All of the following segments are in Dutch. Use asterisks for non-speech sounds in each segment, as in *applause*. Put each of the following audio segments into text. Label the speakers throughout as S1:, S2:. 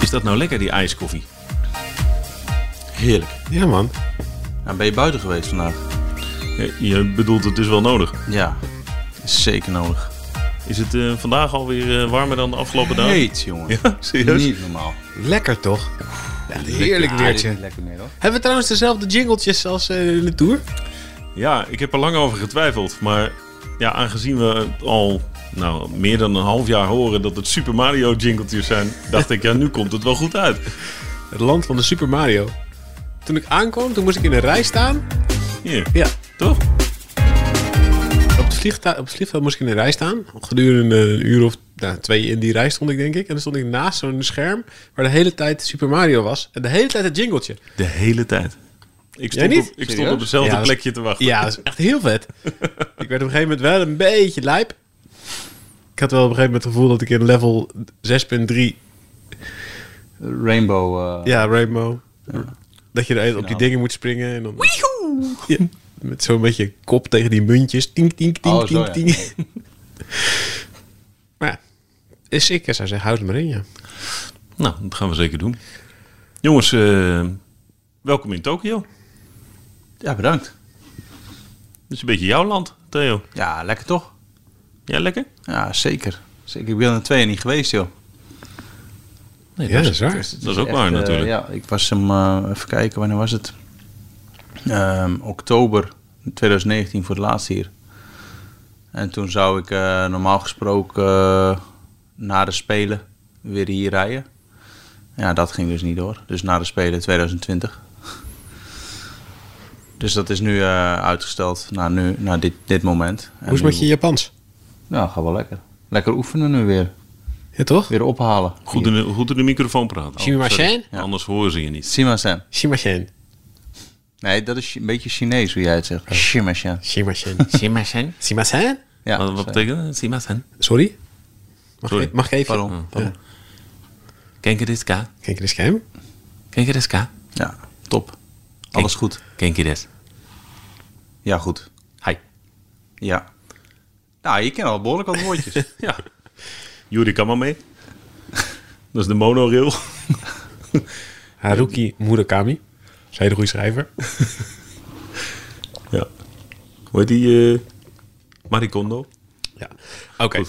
S1: Is dat nou lekker, die ijskoffie?
S2: Heerlijk.
S3: Ja, man.
S2: En Nou, ben je buiten geweest vandaag?
S1: Je- Je bedoelt, het is wel nodig.
S2: Ja, is zeker nodig.
S1: Is het eh, vandaag alweer eh, warmer dan de afgelopen dagen?
S2: Heet, jongen.
S1: *laughs* Ja, serieus?
S2: Niet normaal.
S3: Lekker toch? Ja, heerlijk
S2: Ja, dit
S3: deurtje.
S2: is Lekker meer, hoor.
S3: Hebben we trouwens dezelfde jingletjes als eh, in de Tour?
S1: Ja, ik heb er lang over getwijfeld. Maar ja, aangezien we al nou, meer dan een half jaar horen dat het Super Mario jingletjes zijn, dacht ik, ja, nu komt het wel goed uit.
S3: Het land van de Super Mario. Toen ik aankwam, toen moest ik in een rij staan.
S1: Hier,
S3: Ja.
S1: toch?
S3: Op het, vliegtuig, op het vliegveld moest ik in een rij staan. Gedurende een uur of nou, twee in die rij stond ik, denk ik. En dan stond ik naast zo'n scherm waar de hele tijd Super Mario was. En de hele tijd het jingletje.
S1: De hele tijd. Ik
S3: Jij
S1: stond,
S3: niet?
S1: Op, ik stond
S3: Serieus?
S1: op dezelfde
S3: Ja, dat is-
S1: plekje te wachten.
S3: Ja, dat is echt heel
S1: *laughs*
S3: vet. ik werd op een gegeven moment wel een beetje lijp. Ik had wel op een gegeven moment het gevoel dat ik in level 6.3
S2: Rainbow. eh,
S3: Ja, Rainbow. Dat je er op die dingen moet springen en dan... Ja, met zo'n beetje kop tegen die muntjes. Tink, tink, tink,
S2: Oh, zo,
S3: tink, tink. *laughs* maar ja, is ik zou zeggen, houd het maar in, ja.
S1: Nou, dat gaan we zeker doen. Jongens, eh, welkom in Tokio.
S2: ja, bedankt.
S1: Dat is een beetje jouw land, Theo.
S2: Ja, lekker toch?
S1: Ja, lekker?
S2: Ja, zeker. zeker. Ik ben er twee jaar niet geweest, joh.
S1: Nee,
S3: Ja, dat is waar.
S1: Dat is ook waar,
S2: eh,
S1: natuurlijk.
S2: ja, ik was hem, eh, even kijken, wanneer was het? Ehm, oktober 2019 voor het laatst hier. En toen zou ik eh, normaal gesproken eh, na de Spelen weer hier rijden. Ja, dat ging dus niet door. Dus na de Spelen 2020. Dus dat is nu eh, uitgesteld naar, nu, naar dit, dit moment. En
S3: Hoe is het
S2: nu-
S3: met je Japans?
S2: Nou, gaat wel lekker. Lekker oefenen nu weer.
S3: Ja, toch?
S2: Weer ophalen.
S1: Goed in, de, goed in de microfoon praten. Oh,
S3: Shimasen?
S1: sorry.
S2: Ja.
S1: Anders horen ze je niet.
S2: Shimasen.
S3: Shimashen.
S2: Nee, dat is een beetje Chinees hoe jij het zegt. Shimasen.
S3: *laughs* Shimashen. Shimashen?
S2: Ja,
S1: wat, wat
S2: zo.
S1: betekent dat? Shimasen?
S3: Sorry? Mag,
S1: Sorry.
S3: Ik, mag ik even?
S2: Pardon, pardon.
S1: Kenkereska.
S3: Kijk in de scherm.
S1: Kenkereska.
S2: Ja, top. Alles goed.
S1: Kenkeres.
S2: Ja, goed.
S1: Hi.
S2: Ja. Nou, je kent al behoorlijk wat woordjes.
S1: Ja. Juri, kan maar mee. Dat is de monorail. *laughs*
S3: Haruki Murakami. Is een hele goede *laughs* schrijver.
S1: Ja. Hoe heet die? eh Maricondo?
S3: Ja. Oké.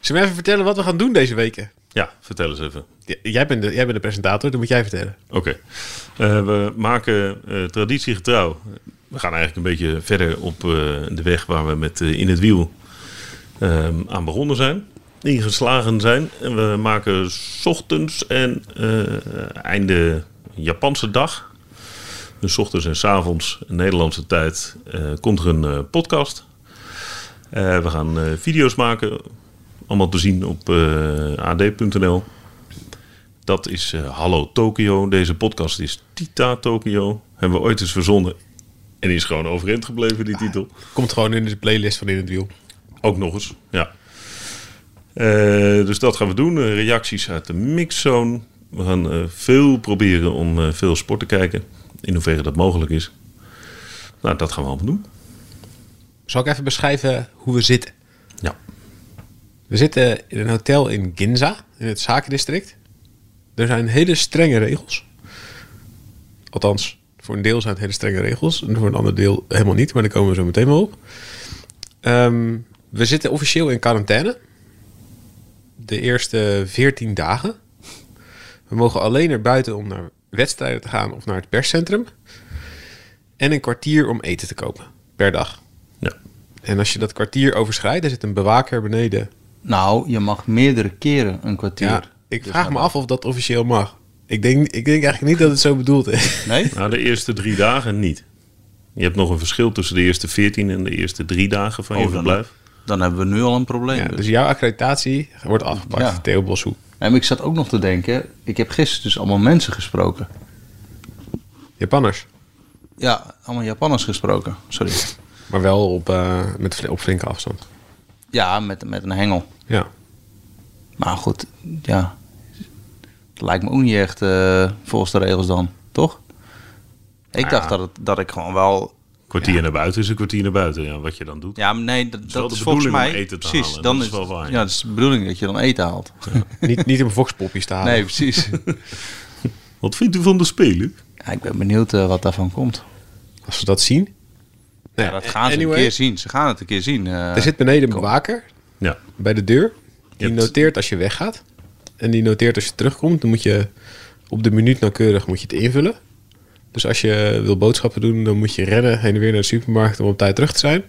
S3: Zullen we even vertellen wat we gaan doen deze weken?
S1: Ja, vertel eens even.
S3: J- Jij bent de, jij bent de presentator, dat moet jij vertellen.
S1: Oké. Eh, we maken eh, traditiegetrouw. We gaan eigenlijk een beetje verder op eh, de weg waar we met eh, In het Wiel ehm, aan begonnen zijn. Ingeslagen zijn. En we maken 's ochtends en eh, einde Japanse dag. Dus 's ochtends en 's avonds Nederlandse tijd eh, komt er een eh, podcast. Eh, we gaan eh, video's maken. Allemaal te zien op eh, ad.nl. Dat is eh, Hallo Tokio. Deze podcast is Tita Tokio. Hebben we ooit eens verzonnen. En is gewoon overeind gebleven, die titel.
S3: Komt gewoon in de playlist van In het Wiel.
S1: Ook nog eens, ja. Eh, dus dat gaan we doen. Eh, reacties uit de mixzone. We gaan eh, veel proberen om eh, veel sport te kijken. In hoeverre dat mogelijk is. Nou, dat gaan we allemaal doen.
S3: Zal ik even beschrijven hoe we zitten?
S1: Ja.
S3: We zitten in een hotel in Ginza, in het zakendistrict. Er zijn hele strenge regels. Althans, voor een deel zijn het hele strenge regels. En voor een ander deel helemaal niet, maar daar komen we zo meteen wel op. Ehm, we zitten officieel in quarantaine. De eerste 14 dagen. We mogen alleen naar buiten om naar wedstrijden te gaan of naar het perscentrum. En een kwartier om eten te kopen per dag.
S1: ja.
S3: En als je dat kwartier overschrijdt, er zit een bewaker beneden
S2: nou, je mag meerdere keren een kwartier.
S3: ja, ik
S2: Dus
S3: vraag me af of dat officieel mag. Ik denk, ik denk eigenlijk niet dat het zo bedoeld is.
S2: Nee?
S1: Na Nou, de eerste drie dagen niet. Je hebt nog een verschil tussen de eerste veertien en de eerste drie dagen van je
S2: Oh, dan-
S1: verblijf.
S2: Dan hebben we nu al een probleem.
S3: Ja,
S2: dus.
S3: dus jouw accreditatie wordt afgepakt,
S2: Ja.
S3: Theo Boshoek.
S2: En ik zat ook nog te denken, ik heb gisteren dus allemaal mensen gesproken.
S3: Japanners.
S2: Ja, allemaal Japanners gesproken, sorry.
S3: Maar wel op, eh, met, fl- op flinke afstand.
S2: Ja, met, met een hengel.
S3: Ja.
S2: Maar goed, ja. Het lijkt me ook niet echt eh, volgens de regels dan, toch? Ik dacht dat, het, dat ik gewoon wel
S1: Kwartier naar buiten is een kwartier naar buiten. Ja, wat je dan doet.
S2: Ja, maar nee, dat,
S1: wel
S2: dat
S1: de
S2: is volgens
S1: bedoeling
S2: mij.
S1: om eten te
S2: precies,
S1: halen,
S2: dan
S1: dat
S2: is,
S1: is wel waar,
S2: Ja,
S1: ja.
S2: dat is de bedoeling dat je dan eten
S1: *laughs*
S2: haalt.
S3: niet, niet in voxpopjes te halen.
S2: Nee, precies.
S1: Wat vindt u van de spelen?
S2: Ja, ik ben benieuwd eh, wat daarvan komt.
S3: Als ze dat zien. Nou
S2: Ja, dat gaan ze
S3: anyway,
S2: een keer zien. Ze gaan het een keer zien. eh.
S3: Er zit beneden een bewaker
S1: Ja.
S3: bij de deur. Die
S1: hebt-
S3: noteert als je weggaat. En die noteert als je terugkomt. Dan moet je op de minuut nauwkeurig moet je het invullen. Dus als je wil boodschappen doen, dan moet je rennen heen en weer naar de supermarkt om op tijd terug te zijn.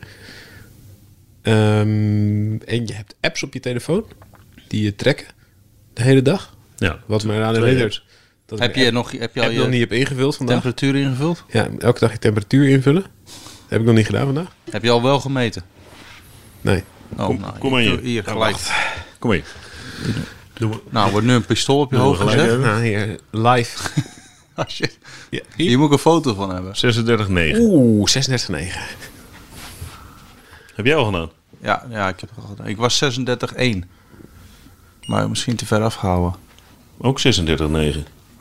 S3: Ehm, en je hebt apps op je telefoon die je trekken de hele dag.
S1: ja.
S3: Wat me eraan
S1: Twee
S3: herinnert. dat
S2: heb
S3: ik
S2: je,
S3: app-
S2: nog, heb je al
S3: app nog
S2: je
S3: niet heb ingevuld vandaag?
S2: temperatuur ingevuld?
S3: Ja, elke dag je temperatuur invullen. Dat heb ik nog niet gedaan vandaag.
S2: Heb je al wel gemeten?
S3: Nee.
S2: Oh,
S1: Kom-
S2: nou,
S1: kom maar
S2: hier.
S1: hier.
S2: Hier,
S1: Ja,
S2: gelijk.
S1: Kom hier. Doe maar.
S2: nou, wordt nu een pistool op je
S1: Doe
S2: hoofd
S1: gelijk,
S2: gezet.
S1: hè?
S3: Nou, hier, live.
S2: *laughs* Als je-
S3: *laughs* Ja,
S2: Hier moet ik een foto van hebben.
S1: 36,9.
S3: Oeh, 36,9.
S1: Heb jij al gedaan?
S2: Ja, ja ik, heb het al gedaan. ik was 36-1. Maar misschien te ver afgehouden.
S1: Ook 36,9.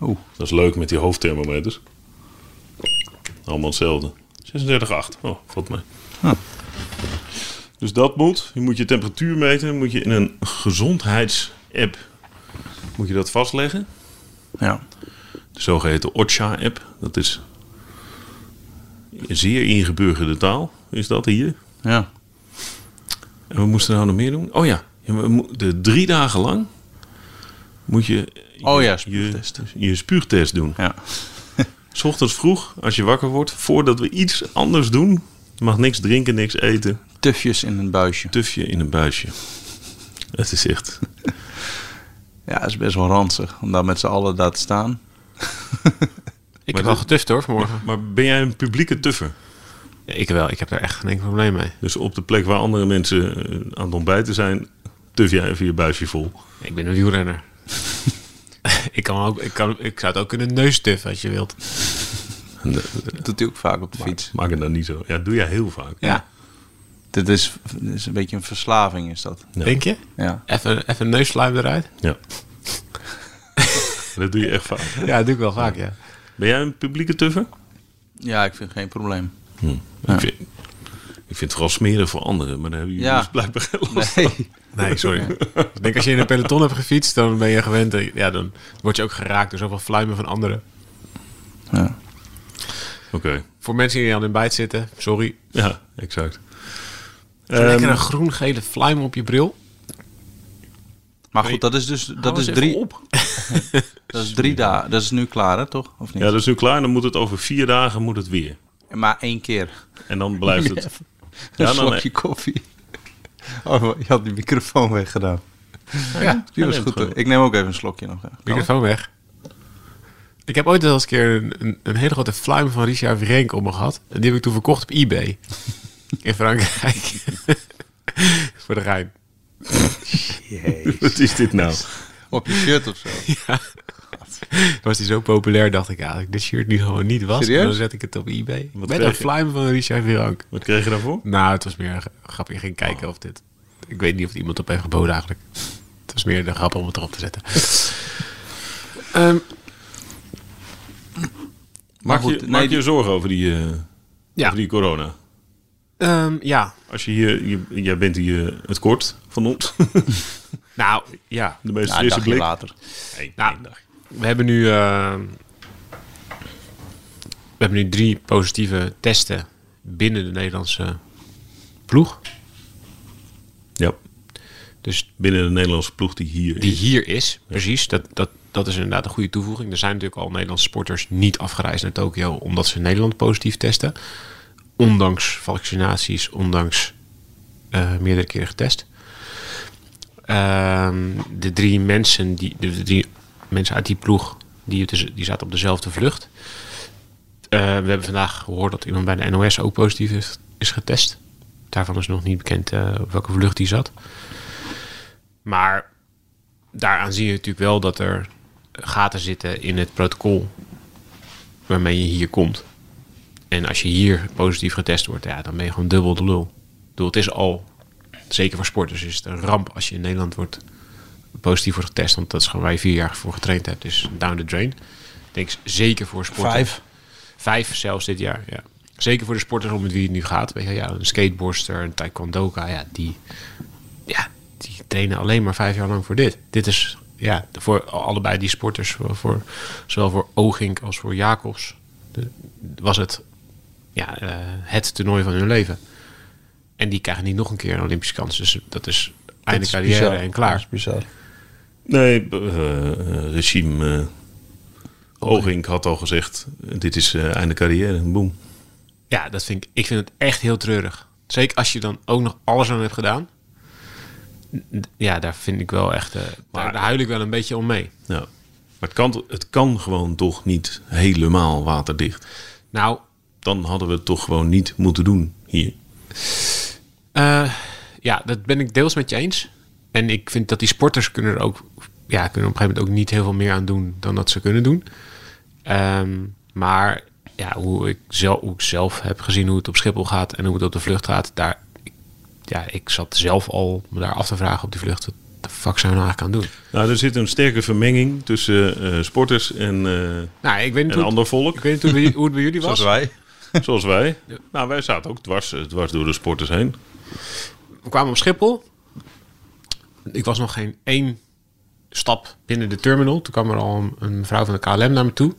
S2: Oeh.
S1: Dat is leuk met die hoofdthermometers. Allemaal hetzelfde. 36,8. Oh, valt mij.
S2: Huh.
S1: Dus dat moet. Je moet je temperatuur meten. Moet je in een gezondheidsapp moet je dat vastleggen.
S2: Ja.
S1: De zogeheten OCHA-app. Dat is een zeer ingeburgerde taal. Is dat hier?
S2: ja.
S1: En we moesten nou nog meer doen? Oh ja, ja, we mo- de drie dagen lang moet je
S2: Oh ja,
S1: je,
S2: spuugtest.
S1: je spuugtest doen.
S2: Ja.
S1: S ochtends vroeg, als je wakker wordt, voordat we iets anders doen, je mag niks drinken, niks eten,
S2: Tufjes in een buisje.
S1: tuf je in een buisje. Het is echt.
S2: Ja, dat is best wel ranzig om daar met z'n allen daar te staan.
S3: Ik
S1: Maar
S3: heb wel
S1: dat-
S3: getuft hoor vanmorgen.
S1: Maar ben jij een publieke tuffer?
S3: Ja, ik wel, ik heb daar echt geen enkel probleem mee.
S1: Dus op de plek waar andere mensen eh, aan het ontbijten zijn, tuf jij even je buisje vol.
S3: Ik ben een *laughs* wielrenner. ik, kan ook, ik, kan, ik zou het ook kunnen neustuffen als je wilt.
S2: Dat doet hij ook vaak op de fiets.
S1: Maak het dan niet zo. Ja, doe jij heel vaak.
S3: Ja,
S2: Dit is, dit is een beetje een verslaving, is dat?
S3: denk je?
S2: Ja.
S3: Even, even een neussluim eruit?
S1: Ja. *laughs* dat doe je echt vaak.
S3: Ja, dat doe ik wel vaak, ja.
S1: Ben jij een publieke tuffer?
S2: Ja, ik vind geen probleem.
S1: Ik, vind, ik vind het vooral smerig voor anderen, maar daar hebben jullie
S2: Ja.
S1: dus blijkbaar geen last
S2: Nee.
S3: Nee, sorry. ik denk als je in een peloton hebt gefietst, dan ben je gewend. eh, Ja, dan word je ook geraakt door zoveel fluimen van anderen.
S1: *laughs*
S2: Ja.
S1: Oké,
S3: Voor mensen die aan hun bijt zitten, sorry.
S1: ja, exact.
S3: Zo'n lekker
S1: Ehm,
S3: een groen-gele fluim op je bril.
S2: Maar goed, dat is dus dat is
S3: eens even
S2: drie, *laughs* dat is drie dagen. Dat is nu klaar, hè, toch? Of niet?
S1: ja, dat is nu klaar. Dan moet het over vier dagen moet het weer.
S2: Maar één keer.
S1: En dan blijft
S2: *laughs*
S1: het.
S2: Een
S1: Ja, nou, dan,
S2: slokje koffie. *laughs* Oh, je had die microfoon weggedaan.
S3: Ja,
S2: Die was
S1: neemt
S2: goed.
S1: gewoon.
S2: hoor. Ik neem ook even een slokje nog. hè.
S3: microfoon weg. Ik heb ooit wel eens een keer een, een, een hele grote fluim van Richard Renk om me gehad. En die heb ik toen verkocht op eBay. In Frankrijk. *laughs* Voor de Rijn.
S1: *laughs* Wat is dit nou?
S2: Op je shirt
S1: *laughs*
S2: of zo.
S3: Was die zo populair, dacht ik eigenlijk. Dit shirt nu gewoon niet was.
S2: Serieus?
S3: Dan zet ik het op eBay. Met
S1: kreeg
S3: een
S1: je?
S3: fluim van Richard Renk.
S1: Wat kreeg je daarvoor?
S3: Nou, het was meer een grap. Je ging kijken of dit... Ik weet niet of het iemand op heeft geboden eigenlijk. Het was meer de grap om het erop te zetten. Ehm,
S2: Maar
S1: Maak je,
S2: goed,
S1: maak
S2: nee,
S1: je
S2: die-
S1: zorgen over die, eh,
S3: ja.
S1: over die corona?
S3: Ehm, ja.
S1: Als je hier, je- jij bent hier eh, het kort van ons. *laughs*
S3: Nou, ja.
S1: De meest
S2: Ja, een
S1: frisse
S2: dagje
S1: blik.
S2: later.
S1: Nee,
S3: Nou,
S1: één dag.
S3: we hebben nu, eh, we hebben nu drie positieve testen binnen de Nederlandse ploeg.
S1: Ja,
S3: Dus
S1: binnen de Nederlandse ploeg die hier
S3: die
S1: is.
S3: hier is, precies, dat, dat, dat is inderdaad een goede toevoeging. Er zijn natuurlijk al Nederlandse sporters niet afgereisd naar Tokio omdat ze in Nederland positief testen. Ondanks vaccinaties, ondanks eh, meerdere keren getest. Ehm, de drie mensen die, de drie mensen uit die ploeg, die, op de- die zaten op dezelfde vlucht. Eh, we hebben vandaag gehoord dat iemand bij de NOS ook positief is, is getest. Daarvan is nog niet bekend eh, op welke vlucht die zat. Maar daaraan zie je natuurlijk wel dat er gaten zitten in het protocol waarmee je hier komt. En als je hier positief getest wordt, ja, dan ben je gewoon dubbel de lul. Ik bedoel, het is al, zeker voor sporters, is het een ramp als je in Nederland wordt positief wordt getest. Want dat is gewoon waar je vier jaar voor getraind hebt. Dus down the drain. Ik denk zeker voor sporters.
S2: Vijf.
S3: Vijf zelfs dit jaar, ja. Zeker voor de sporters om met wie het nu gaat. Weet je, ja, een skateboardster, een taekwondoka, ja, die, ja, die trainen alleen maar vijf jaar lang voor dit. Dit is ja, voor allebei die sporters, voor, voor- zowel voor Ogink als voor Jacobs, de- was het ja, eh, het toernooi van hun leven. En die krijgen niet nog een keer een Olympische kans. Dus dat is einde
S2: is
S3: carrière
S2: bizar.
S3: en
S2: Dat
S3: klaar.
S2: is bizar.
S1: Nee, b- eh, eh, regime. eh Ogink had al gezegd: dit is eh, einde carrière. Boom.
S3: Ja, dat vind ik, ik vind het echt heel treurig. Zeker als je dan ook nog alles aan hebt gedaan. N- Ja, daar vind ik wel echt. eh, daar, daar huil ik wel een beetje om mee.
S1: Ja. Maar het kan, het kan gewoon toch niet helemaal waterdicht.
S3: Nou,
S1: Dan hadden we het toch gewoon niet moeten doen hier.
S3: Eh, ja, dat ben ik deels met je eens. En ik vind dat die sporters kunnen er ook, ja, kunnen op een gegeven moment ook niet heel veel meer aan doen dan dat ze kunnen doen. Ehm, maar ja, hoe ik, zelf, hoe ik zelf heb gezien hoe het op Schiphol gaat en hoe het op de vlucht gaat, daar, ja, ik zat zelf al me daar af te vragen op die vlucht. Wat de fuck zijn we nou eigenlijk aan het doen?
S1: Nou, er zit een sterke vermenging tussen eh, sporters en, eh,
S3: Nou, ik weet niet,
S1: en
S3: hoe,
S1: ander
S3: ik
S1: volk,
S3: weet niet hoe, het bij- hoe het bij
S1: *laughs*
S3: jullie was.
S2: Zoals wij.
S1: eh, zoals wij. Nou, wij zaten ook dwars, eh, dwars door de sporters heen.
S3: We kwamen op Schiphol. Ik was nog geen één stap binnen de terminal. Toen kwam er al een, een mevrouw van de KLM naar me toe.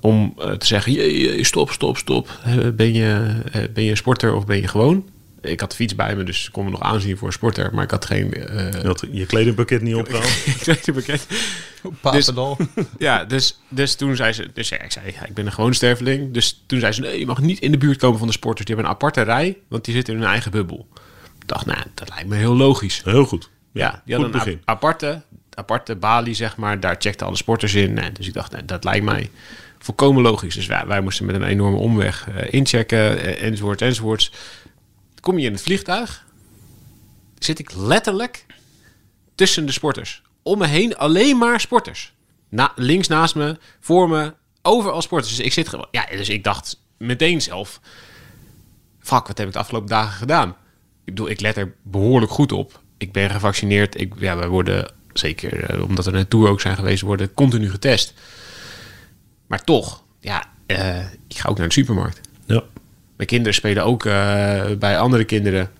S3: Om eh, te zeggen, "Jee, jee, stop, stop, stop. Eh, Ben je, eh, ben je een sporter of ben je gewoon? Ik had de fiets bij me, dus ik kon me nog aanzien voor een sporter. Maar ik had geen... eh
S1: Je had je kledingpakket niet opgehaald.
S3: *laughs* ik weet niet bekend.
S2: Papendal.
S3: *laughs* Ja, dus, dus toen zei ze... Dus ja, ik zei, ja, ik ben een gewoon sterveling. Dus toen zei ze, nee, je mag niet in de buurt komen van de sporters. Die hebben een aparte rij, want die zitten in hun eigen bubbel. Ik dacht, nou, dat lijkt me heel logisch.
S1: Heel goed.
S3: Ja, die
S1: goed
S3: hadden een
S1: begin.
S3: a- aparte, aparte balie, zeg maar. Daar checkten alle sporters in. En dus ik dacht, nee, dat lijkt mij volkomen logisch. Dus wij, wij moesten met een enorme omweg eh, inchecken, eh, enzovoort, enzovoorts. Kom je in het vliegtuig, zit ik letterlijk tussen de sporters. Om me heen alleen maar sporters. Na, links naast me, voor me, overal sporters. Dus ik zit gewoon... Ja, dus ik dacht meteen zelf... Fuck, wat heb ik de afgelopen dagen gedaan? Ik bedoel, ik let er behoorlijk goed op. Ik ben gevaccineerd. Ik, ja, wij worden, zeker eh, omdat er een tour ook zijn geweest, worden continu getest. Maar toch, ja, eh, ik ga ook naar de supermarkt.
S1: Ja.
S3: Mijn kinderen spelen ook eh, bij andere kinderen.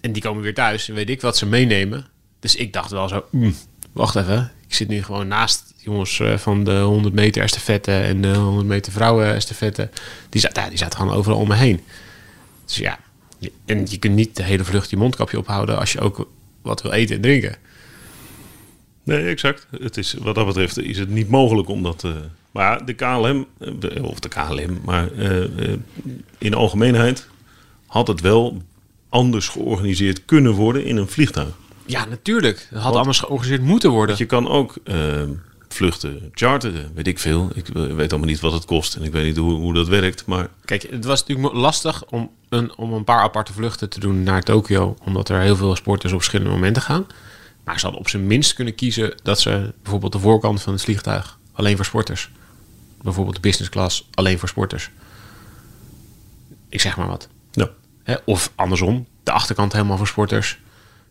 S3: En die komen weer thuis en weet ik wat ze meenemen. Dus ik dacht wel zo, "Mm, wacht even. Ik zit nu gewoon naast jongens eh, van de 100 meter estafette en de 100 meter vrouwen estafette. Die, zat, ja, die zaten gewoon overal om me heen. Dus ja, je- en je kunt niet de hele vlucht je mondkapje ophouden als je ook wat wil eten en drinken.
S1: Nee, exact. Het is, wat dat betreft is het niet mogelijk om dat... eh, maar de KLM, eh, de- of de KLM, maar eh, eh, in de algemeenheid... had het wel anders georganiseerd kunnen worden in een vliegtuig.
S3: Ja, natuurlijk. Het had anders georganiseerd moeten worden.
S1: Je kan ook eh, vluchten charteren, weet ik veel. Ik eh, weet allemaal niet wat het kost en ik weet niet hoe, hoe dat werkt. Maar
S3: Kijk, het was natuurlijk mo- lastig om een, om een paar aparte vluchten te doen naar Tokio. Omdat er heel veel sporters op verschillende momenten gaan. Maar ze hadden op zijn minst kunnen kiezen dat ze bijvoorbeeld de voorkant van het vliegtuig alleen voor sporters. Bijvoorbeeld de business class alleen voor sporters. Ik zeg maar wat.
S1: ja,
S3: Hè, of andersom, de achterkant helemaal voor sporters.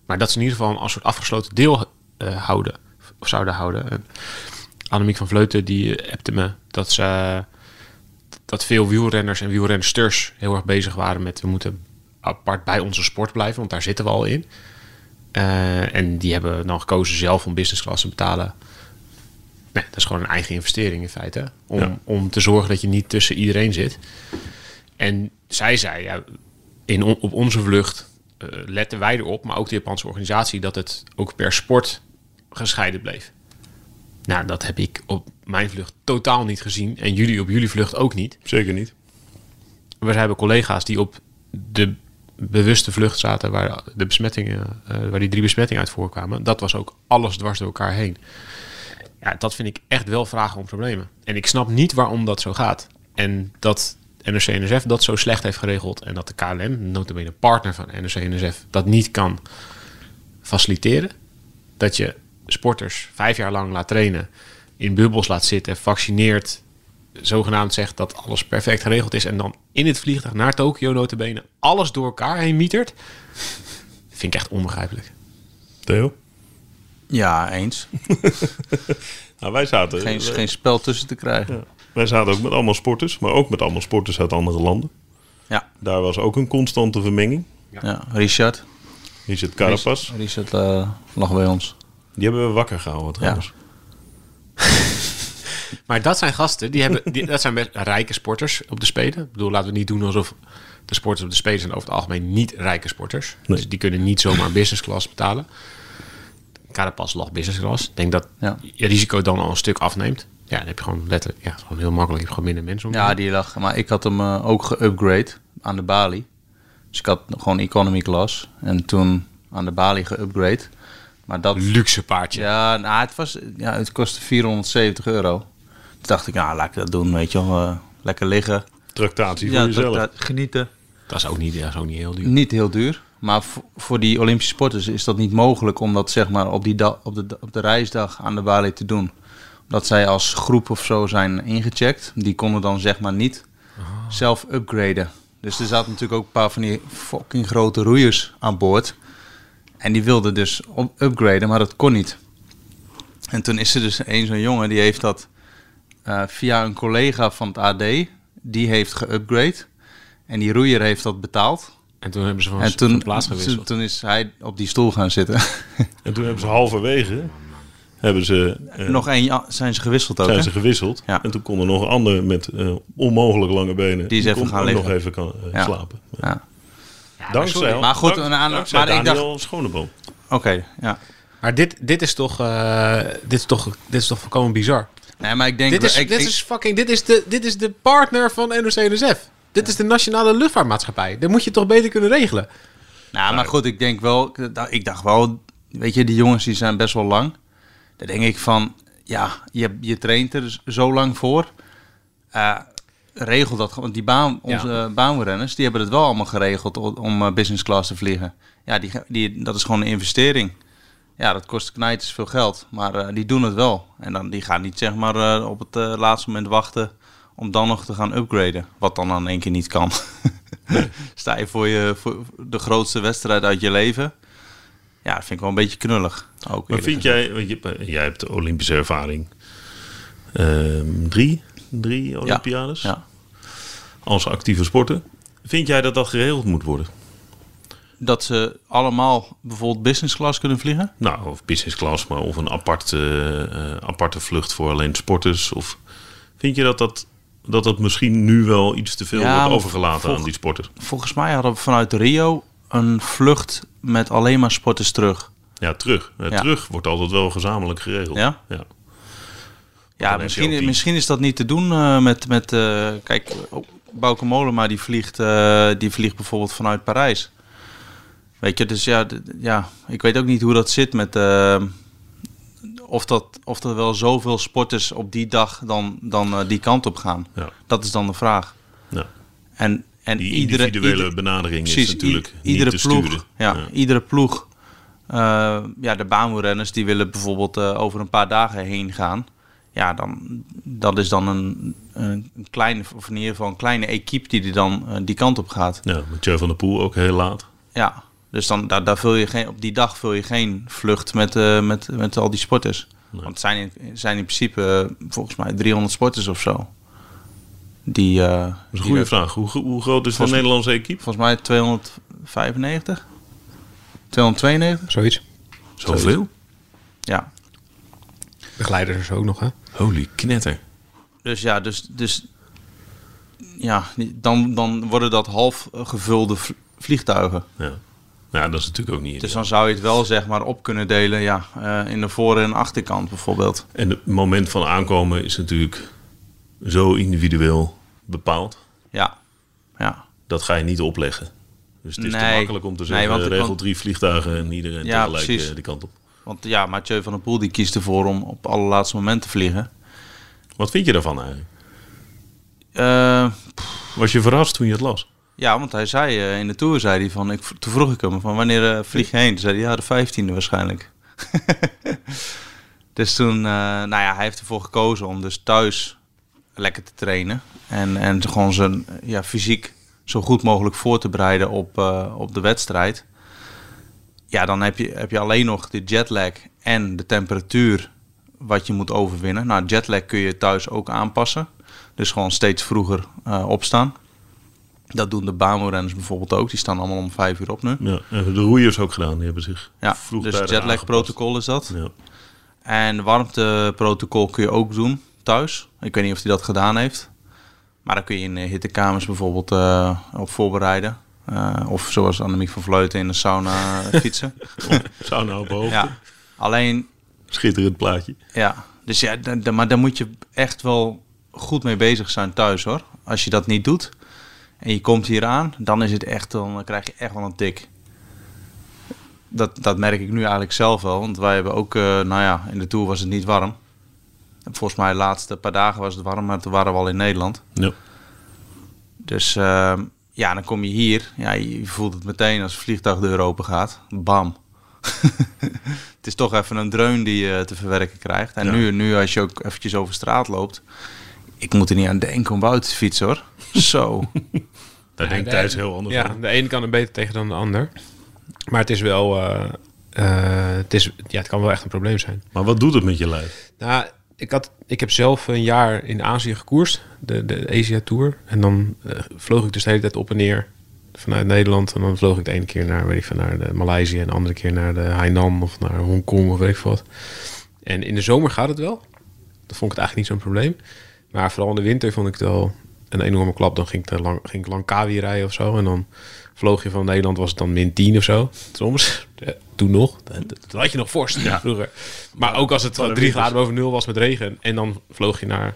S3: Maar dat ze in ieder geval een als soort afgesloten deel eh, houden. Of zouden houden. En Annemiek van Vleuten die eh, appte me dat ze dat veel wielrenners en wielrensters heel erg bezig waren met we moeten apart bij onze sport blijven, want daar zitten we al in. Eh, en die hebben dan gekozen zelf om business class te betalen. Nee, dat is gewoon een eigen investering in feite. Om,
S1: Ja.
S3: om te zorgen dat je niet tussen iedereen zit. En zij zei, ja, in on- op onze vlucht eh, letten wij erop, maar ook de Japanse organisatie, dat het ook per sport gescheiden bleef. Nou, dat heb ik op mijn vlucht totaal niet gezien. En jullie op jullie vlucht ook niet.
S1: zeker niet.
S3: We hebben collega's die op de bewuste vlucht zaten waar de besmettingen, eh, waar die drie besmettingen uit voorkwamen. Dat was ook alles dwars door elkaar heen. Ja, dat vind ik echt wel vragen om problemen. En ik snap niet waarom dat zo gaat. En dat NRC-NSF dat zo slecht heeft geregeld en dat de KLM, notabene partner van NRC-NSF, dat niet kan faciliteren. dat je sporters vijf jaar lang laat trainen, in bubbels laat zitten, vaccineert, zogenaamd zegt dat alles perfect geregeld is en dan in het vliegtuig naar Tokio notabene alles door elkaar heen mietert, vind ik echt onbegrijpelijk.
S1: Theo?
S2: Ja, eens.
S1: Eh, Nou, wij zaten...
S2: Geen,
S1: wij-
S2: geen spel tussen te krijgen.
S1: Wij zaten ook met allemaal sporters, maar ook met allemaal sporters uit andere landen.
S2: Ja.
S1: Daar was ook een constante vermenging.
S2: Ja. Richard.
S1: Hier zit Carapas.
S2: Richard eh, lag bij ons.
S1: Die hebben we wakker gehouden trouwens.
S3: Maar dat zijn gasten, die hebben, die, dat zijn best rijke sporters op de Spelen. Ik bedoel, laten we niet doen alsof de sporters op de Spelen zijn over het algemeen niet rijke sporters.
S1: Nee.
S3: Dus die kunnen niet zomaar business class betalen. Carapaz lag business class. Ik denk dat
S2: Ja.
S3: je risico dan al een stuk afneemt. Ja, dan heb je gewoon letterlijk, ja, gewoon heel makkelijk. Je hebt gewoon minder mensen om. je
S2: Ja,
S3: heen.
S2: die lag. Maar ik had hem eh, ook geüpgrade aan de balie. Dus ik had gewoon economy class. En toen aan de balie geüpgrade. Maar dat...
S3: Luxe paardje.
S2: Ja, nou, het, was, ja, het kostte 470 euro. Toen dacht ik, nou, laat ik dat doen, weet je wel. eh, lekker liggen.
S1: Tractatie voor
S2: Ja,
S1: jezelf.
S2: dat- dat- genieten.
S3: Dat is ook niet, dat is ook niet heel duur.
S2: Niet heel duur. Maar voor, voor die Olympische sporters is dat niet mogelijk om dat zeg maar, op, die da- op, de, da- op de reisdag aan de Bali te doen. Omdat zij als groep of zo zijn ingecheckt. Die konden dan zeg maar niet zelf upgraden. Dus er zaten natuurlijk ook een paar van die fucking grote roeiers aan boord. En die wilden dus op upgraden, maar dat kon niet. En toen is er dus een zo'n jongen die heeft dat eh, via een collega van het AD. Die heeft geupgrade. En die roeier heeft dat betaald.
S3: En toen hebben ze van,
S2: En
S3: van
S2: toen,
S3: plaats
S2: toen,
S3: gewisseld.
S2: toen is hij op die stoel gaan
S3: *laughs*
S2: zitten.
S1: En toen hebben ze halverwege hebben ze, eh,
S2: Nog één ja, zijn ze gewisseld ook.
S1: zijn
S2: hè?
S1: ze gewisseld.
S2: Ja.
S1: En toen kon er nog een ander met eh, onmogelijk lange benen.
S2: Die is even
S1: kon
S2: gaan
S1: ook
S2: liggen.
S1: nog even kan, eh,
S2: Ja.
S1: slapen.
S2: Ja.
S1: Dankzij,
S2: Maar goed,
S1: dank-
S2: een aan-
S1: dankzij
S2: maar ik
S1: Daniel Schoneboom.
S2: Oké, ja.
S3: Maar dit, dit, is toch, eh, dit is toch, dit is toch volkomen bizar.
S2: Nee, maar ik denk...
S3: Dit is,
S2: ik,
S3: dit
S2: ik-
S3: is fucking, dit is de, dit is de partner van NOC-NSF. Dit is de nationale luchtvaartmaatschappij. Dat moet je toch beter kunnen regelen.
S2: nou, maar goed, ik denk wel... ik dacht- Ik dacht wel... Weet je, die jongens die zijn best wel lang. Daar denk ik van... Ja, je, je traint er zo lang voor. Eh, regel dat gewoon. Die baan, onze eh, baanrenners, die hebben het wel allemaal geregeld o- om eh, business class te vliegen. Ja, die, ge- die, dat is gewoon een investering. Ja, dat kost knijters veel geld, maar eh, die doen het wel. En dan, die gaan niet zeg maar eh, op het eh, laatste moment wachten om dan nog te gaan upgraden. Wat dan in één keer niet kan. *laughs* Sta je voor, je voor de grootste wedstrijd uit je leven? Ja, dat vind ik wel een beetje knullig. Ook
S1: Maar
S2: eerlijk
S1: vind jij, want je, hebt- jij hebt de Olympische ervaring. Ehm, drie, drie Olympiades
S2: gezegd. Ja.
S1: als actieve sporter. Vind jij dat dat geregeld moet worden?
S2: Dat ze allemaal bijvoorbeeld business class kunnen vliegen?
S1: Nou, of business class, maar of een apart, eh, eh, aparte vlucht voor alleen sporters. Of vind je dat dat, dat dat misschien nu wel iets te veel
S2: Ja,
S1: wordt
S2: maar
S1: overgelaten
S2: volg-
S1: aan die sporters?
S2: Volgens mij hadden we vanuit Rio een vlucht met alleen maar sporters terug.
S1: Ja, terug. Eh,
S2: Ja.
S1: Terug wordt altijd wel gezamenlijk geregeld.
S2: Ja?
S1: ja.
S2: Ja,
S1: dan heb je
S2: misschien,
S1: ook
S2: misschien is dat niet te doen eh, met... met eh, kijk, oh, Bauke Mollema die vliegt, eh, die vliegt bijvoorbeeld vanuit Parijs. Weet je, dus ja, d- ja ik weet ook niet hoe dat zit met... eh, of, dat, of er wel zoveel sporters op die dag dan, dan eh, die kant op gaan.
S1: Ja.
S2: Dat is dan de vraag.
S1: Ja.
S2: En, en
S1: Die
S2: iedere,
S1: individuele
S2: ieder-
S1: benadering
S2: precies,
S1: is natuurlijk
S2: i- iedere
S1: niet te
S2: ploeg,
S1: sturen.
S2: Ja, iedere ploeg. eh, ja, de baanwielrenners die willen bijvoorbeeld eh, over een paar dagen heen gaan. Ja, dan, dat is dan een, een een kleine, of in ieder geval een kleine equipe die er dan eh, die kant op gaat.
S1: Ja, Mathieu van der Poel ook heel laat.
S2: Ja, dus dan, daar, daar vul je geen, op die dag vul je geen vlucht met, eh, met, met al die sporters. Want het zijn in, zijn in principe eh, volgens mij 300 sporters of zo. Die, eh,
S1: Dat is
S2: die
S1: een goede
S2: er-
S1: vraag. Hoe, gro- hoe groot is de
S2: Volgens-
S1: Nederlandse equipe?
S2: volgens mij 295? 292?
S4: Zoiets.
S1: Zoveel?
S2: Ja,
S4: De glijders er zo ook nog, hè?
S1: Holy knetter.
S2: Dus ja, dus, dus ja, dan, dan worden dat half eh, gevulde vl- vliegtuigen.
S1: Ja. ja, dat is natuurlijk ook niet.
S2: Dus dan zou je het wel zeg maar op kunnen delen ja, eh, in de voor- en achterkant bijvoorbeeld.
S1: En het moment van aankomen is natuurlijk zo individueel bepaald.
S2: Ja, ja.
S1: Dat ga je niet opleggen. Dus het is te
S2: Nee.
S1: makkelijk om te
S2: Nee,
S1: zeggen,
S2: want-
S1: regel
S2: want-
S1: drie vliegtuigen en iedereen
S2: Ja,
S1: tegelijk
S2: precies.
S1: eh, de kant op.
S2: Want ja, Mathieu van der Poel die kiest ervoor om op allerlaatste moment te vliegen.
S1: Wat vind je daarvan eigenlijk?
S2: Eh,
S1: Was je verrast toen je het las?
S2: ja, want hij zei eh, in de Tour, zei hij van, ik, toen vroeg ik hem van wanneer eh, vlieg je heen? Toen zei hij, ja, de 15e waarschijnlijk. *laughs* dus toen, eh, nou ja, hij heeft ervoor gekozen om dus thuis lekker te trainen. En, en gewoon zijn ja, fysiek zo goed mogelijk voor te bereiden op, eh, op de wedstrijd. Ja, dan heb je, heb je alleen nog de jetlag en de temperatuur wat je moet overwinnen. Nou, jetlag kun je thuis ook aanpassen. Dus gewoon steeds vroeger eh, opstaan. Dat doen de baanrenners bijvoorbeeld ook. Die staan allemaal om vijf uur op nu.
S1: Ja, en de roeiers ook gedaan. Die hebben zich
S2: Ja,
S1: vroegtijdig
S2: dus jetlag
S1: aangepast.
S2: protocol is dat.
S1: Ja.
S2: En warmteprotocol kun je ook doen thuis. Ik weet niet of hij dat gedaan heeft. Maar dan kun je in eh, hittekamers bijvoorbeeld eh, op voorbereiden. Eh, of zoals Annemiek van Vleuten in de sauna eh, fietsen.
S1: Sauna nou op hoogte.
S2: ja. Alleen,
S1: Schitterend plaatje.
S2: ja. Dus ja, d- d- maar daar moet je echt wel goed mee bezig zijn thuis hoor. Als je dat niet doet en je komt hier aan, dan is het echt, dan krijg je echt wel een tik. Dat, dat merk ik nu eigenlijk zelf wel. Want wij hebben ook, eh, nou ja, in de Tour was het niet warm. Volgens mij de laatste paar dagen was het warm, maar toen waren we al in Nederland.
S1: Ja.
S2: Dus ehm, ja, dan kom je hier. Ja, je voelt het meteen als de vliegtuigdeur open gaat. Bam. *laughs* het is toch even een dreun die je te verwerken krijgt. En nu, nu als je ook eventjes over straat loopt. Ik moet er niet aan denken om buiten te fietsen hoor. *laughs* Zo.
S1: Daar denkt
S5: daar-
S1: Thijs heel anders
S3: Ja,
S1: over.
S3: de ene kan er beter tegen dan de ander. Maar het is wel... eh, eh, het, is, ja, het kan wel echt een probleem zijn.
S1: Maar wat doet het met je lijf?
S3: Nou, ik, had, ik heb zelf een jaar in Azië gekoerst, de, de Asia Tour. En dan eh, vloog ik dus de hele tijd op en neer vanuit Nederland. En dan vloog ik de ene keer naar, weet ik veel, naar de Maleisië en de andere keer naar de Hainan of naar Hongkong of weet ik veel wat. En in de zomer gaat het wel. Dat vond ik het eigenlijk niet zo'n probleem. Maar vooral in de winter vond ik het wel een enorme klap. Dan ging ik, te lang, ging ik Langkawi rijden of zo. En dan vloog je van Nederland, was het dan min 10 of zo. Soms. Ja, Toen nog. Eh, Dat- dat- Dat had je nog vorst vroeger. Maar ook als het drie graden boven nul was met regen. En dan vloog je naar,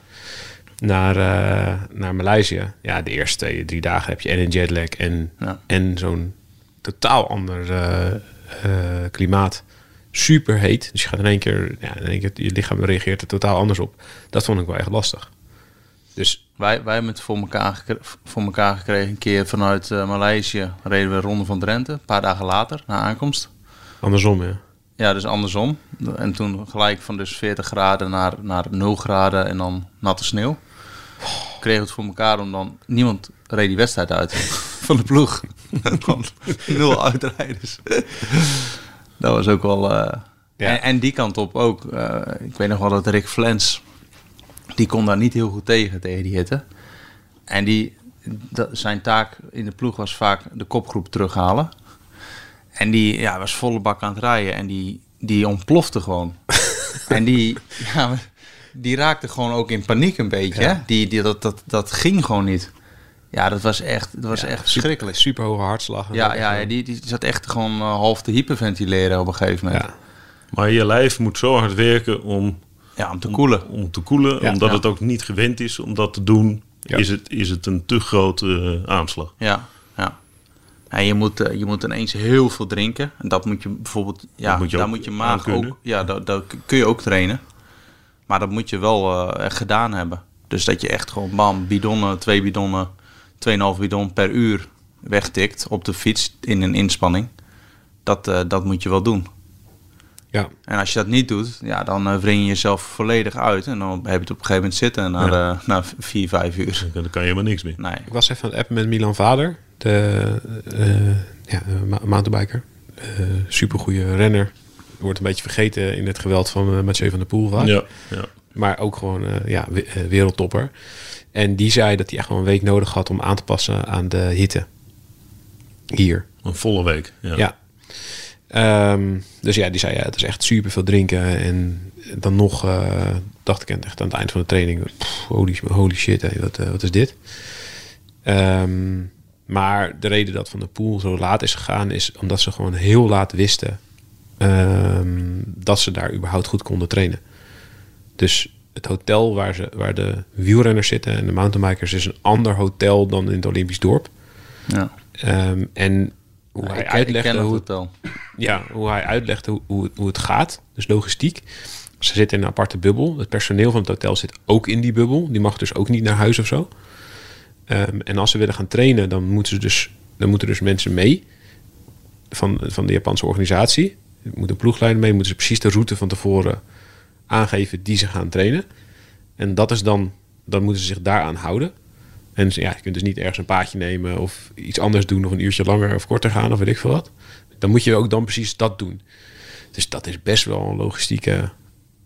S3: naar, eh, naar Maleisië. Ja, de eerste twee, drie dagen heb je en een jetlag en,
S2: Ja.
S3: en zo'n totaal ander eh, eh, klimaat. Super heet. Dus je gaat in één keer, ja, in één keer, je lichaam reageert er totaal anders op. Dat vond ik wel echt lastig. Dus
S2: Wij, wij hebben het voor elkaar, gekre- voor elkaar gekregen. Een keer vanuit eh, Maleisië reden we Ronde van Drenthe. Een paar dagen later, na aankomst.
S3: andersom, ja.
S2: Ja, dus andersom. En toen gelijk van dus 40 graden naar, naar 0 graden en dan natte sneeuw. Kregen we het voor elkaar om dan... Niemand reed die wedstrijd uit *laughs* van de ploeg. *laughs* Dan nul uitrijders. Dat was ook wel... eh,
S3: Ja.
S2: en, en die kant op ook. Eh, ik weet nog wel dat Rick Flens... Die kon daar niet heel goed tegen, tegen die hitte. En die, dat, zijn taak in de ploeg was vaak de kopgroep terughalen. En die ja, was volle bak aan het rijden en die, die ontplofte *laughs* gewoon. en die, ja, die raakte gewoon ook in paniek een beetje. hè? Die, die, dat, dat, dat ging gewoon niet. Ja, dat was echt, dat was echt verschrikkelijk.
S3: Super hoge hartslag.
S2: Ja, ja, ja, die, die zat echt gewoon eh, half te hyperventileren op een gegeven moment. Ja,
S3: Ja.
S1: Maar je lijf moet zo hard werken om,
S2: om te koelen.
S1: om te koelen.
S3: Ja.
S1: omdat
S2: Ja.
S1: het ook niet gewend is om dat te doen.
S3: Ja.
S1: Is, het, is het een te grote eh, aanslag.
S2: Ja, ja. En je moet, eh, je moet ineens heel veel drinken. En dat moet je bijvoorbeeld, ja,
S1: Dat moet je
S2: daar
S1: ook
S2: moet je
S1: aan
S2: maag
S1: kunnen.
S2: ook, ja, dat, dat kun je ook trainen. Maar dat moet je wel eh, echt gedaan hebben. Dus dat je echt gewoon bam, bidonnen, twee bidonnen, 2,5 bidon per uur wegtikt op de fiets in een inspanning. Dat, eh, dat moet je wel doen.
S3: ja.
S2: En als je dat niet doet, ja, dan eh wring je jezelf volledig uit. En dan heb je het op een gegeven moment zitten na, de- na vier, vijf uur.
S1: Dan kan je helemaal niks meer.
S2: Nee.
S3: Ik was even aan het appen met Milan Vader, de eh, ja, de ma- mountainbiker. Eh supergoeie renner. Wordt een beetje vergeten in het geweld van eh, Mathieu van der Poel. vaak.
S1: Ja, ja.
S3: Maar ook gewoon eh, ja, we- eh, wereldtopper. En die zei dat hij echt wel een week nodig had om aan te passen aan de hitte. Hier.
S1: Een volle week. Ja.
S3: Ja. Ehm, dus ja, die zei ja, het is echt super veel drinken. En dan nog eh, dacht ik echt aan het eind van de training: pff, holy, holy shit, hé, wat, eh, wat is dit? Ehm, maar de reden dat Van de Poel zo laat is gegaan, is omdat ze gewoon heel laat wisten ehm, dat ze daar überhaupt goed konden trainen. Dus het hotel waar, ze, waar de wielrenners zitten en de mountainbikers is een ander hotel dan in het Olympisch dorp.
S2: Ja.
S3: Ehm, en hoe
S2: Ik-
S3: hij
S2: ik,
S3: uitlegde
S2: ken het
S3: hoe het
S2: hotel.
S3: ja, hoe hij uitlegde hoe, hoe, het, hoe het gaat. Dus logistiek. Ze zitten in een aparte bubbel. Het personeel van het hotel zit ook in die bubbel. Die mag dus ook niet naar huis of zo. Ehm, en als ze willen gaan trainen, dan moeten, ze dus, dan moeten dus mensen mee van, van de Japanse organisatie. Er moet een ploegleider mee, moeten ze precies de route van tevoren aangeven die ze gaan trainen. En dat is dan, dan moeten ze zich daaraan houden. En ze- ja, je kunt dus niet ergens een paadje nemen of iets anders doen of een uurtje langer of korter gaan of weet ik veel wat. Dan moet je ook dan precies dat doen. Dus dat is best wel een logistieke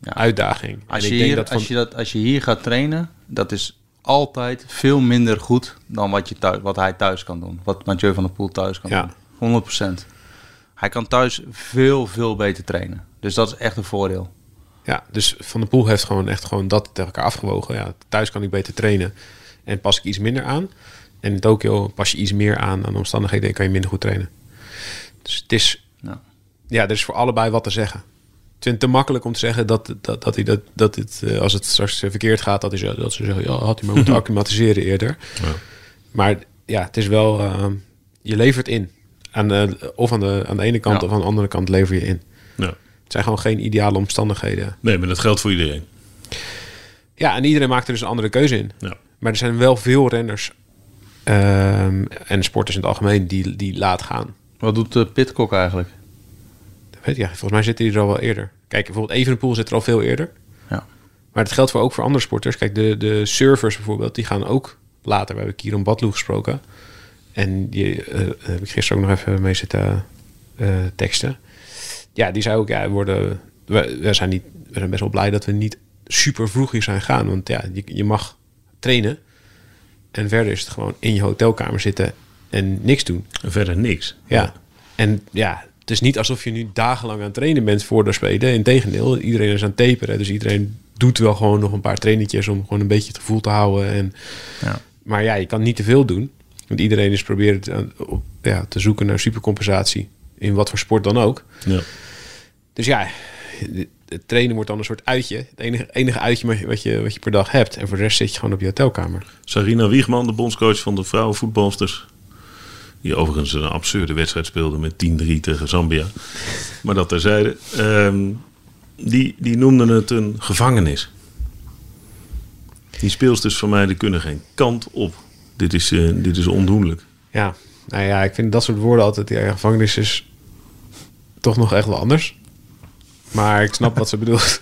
S3: uitdaging. En
S2: Als
S3: ik
S2: je,
S3: denk
S2: hier,
S3: dat van-
S2: als, je dat, als je hier gaat trainen, dat is altijd veel minder goed dan wat, je thuis, wat hij thuis kan doen. Wat Mathieu van der Poel thuis kan
S3: Ja.
S2: doen. 100%. Hij kan thuis veel, veel beter trainen. Dus dat is echt een voordeel.
S3: Ja, dus Van der Poel heeft gewoon echt gewoon dat tegen elkaar afgewogen. Ja, thuis kan ik beter trainen en pas ik iets minder aan. En in Tokio pas je iets meer aan aan de omstandigheden en kan je minder goed trainen. Dus het is,
S2: Ja.
S3: ja, er is voor allebei wat te zeggen. Ik vind het te makkelijk om te zeggen dat, dat, dat, hij dat, dat het, eh, als het straks eh, verkeerd gaat, dat, is, eh, dat ze zeggen, ja, had hij maar moeten acclimatiseren eerder. Maar ja, het is wel, eh, je levert in. Aan de, of aan de, aan de ene kant
S2: Ja.
S3: of aan de andere kant lever je in.
S1: Ja.
S3: Het zijn gewoon geen ideale omstandigheden.
S1: Nee, maar dat geldt voor iedereen.
S3: Ja, en iedereen maakt er dus een andere keuze in.
S1: Ja.
S3: Maar er zijn wel veel renners ehm, en sporters in het algemeen die, die laat gaan.
S2: Wat doet
S3: eh,
S2: de Pitcock eigenlijk?
S3: Dat Weet je, ja, volgens mij zit hij er al wel eerder. Kijk, bijvoorbeeld Evenepoel zit er al veel eerder.
S2: Ja.
S3: Maar dat geldt voor ook voor andere sporters. Kijk, de, de surfers bijvoorbeeld, die gaan ook later. We hebben Kieran Badloe gesproken. En die eh, heb ik gisteren ook nog even mee zitten eh, teksten. Ja, die zei ook, ja, we worden, we, we zijn niet, we zijn best wel blij dat we niet super vroeg hier zijn gaan. Want ja, je, je mag trainen. En verder is het gewoon in je hotelkamer zitten en niks doen.
S1: En verder niks.
S3: Ja. En ja, het is niet alsof je nu dagenlang aan het trainen bent voor de spelen. Integendeel, iedereen is aan het taperen. Dus iedereen doet wel gewoon nog een paar trainetjes om gewoon een beetje het gevoel te houden. En,
S2: Ja.
S3: Maar ja, je kan niet te veel doen. Want iedereen is proberen te, aan- op- ja, te zoeken naar supercompensatie. In wat voor sport dan ook.
S1: Ja.
S3: Dus ja, het trainen wordt dan een soort uitje. Het enige, enige uitje wat je- wat je, wat je per dag hebt. En voor de rest zit je gewoon op je hotelkamer.
S1: Sarina Wiegman, de bondscoach van de vrouwenvoetbalsters. Die overigens een absurde wedstrijd speelde met 10-3 tegen Zambia. Maar dat terzijde. Ehm die, die noemden het een gevangenis. Die speelsters van mij die kunnen geen kant op. Dit is, eh, dit is ondoenlijk.
S3: Ja, nou ja, ik vind dat soort woorden altijd. Ja, gevangenis is toch nog echt wel anders. Maar ik snap wat ze *laughs* bedoelt.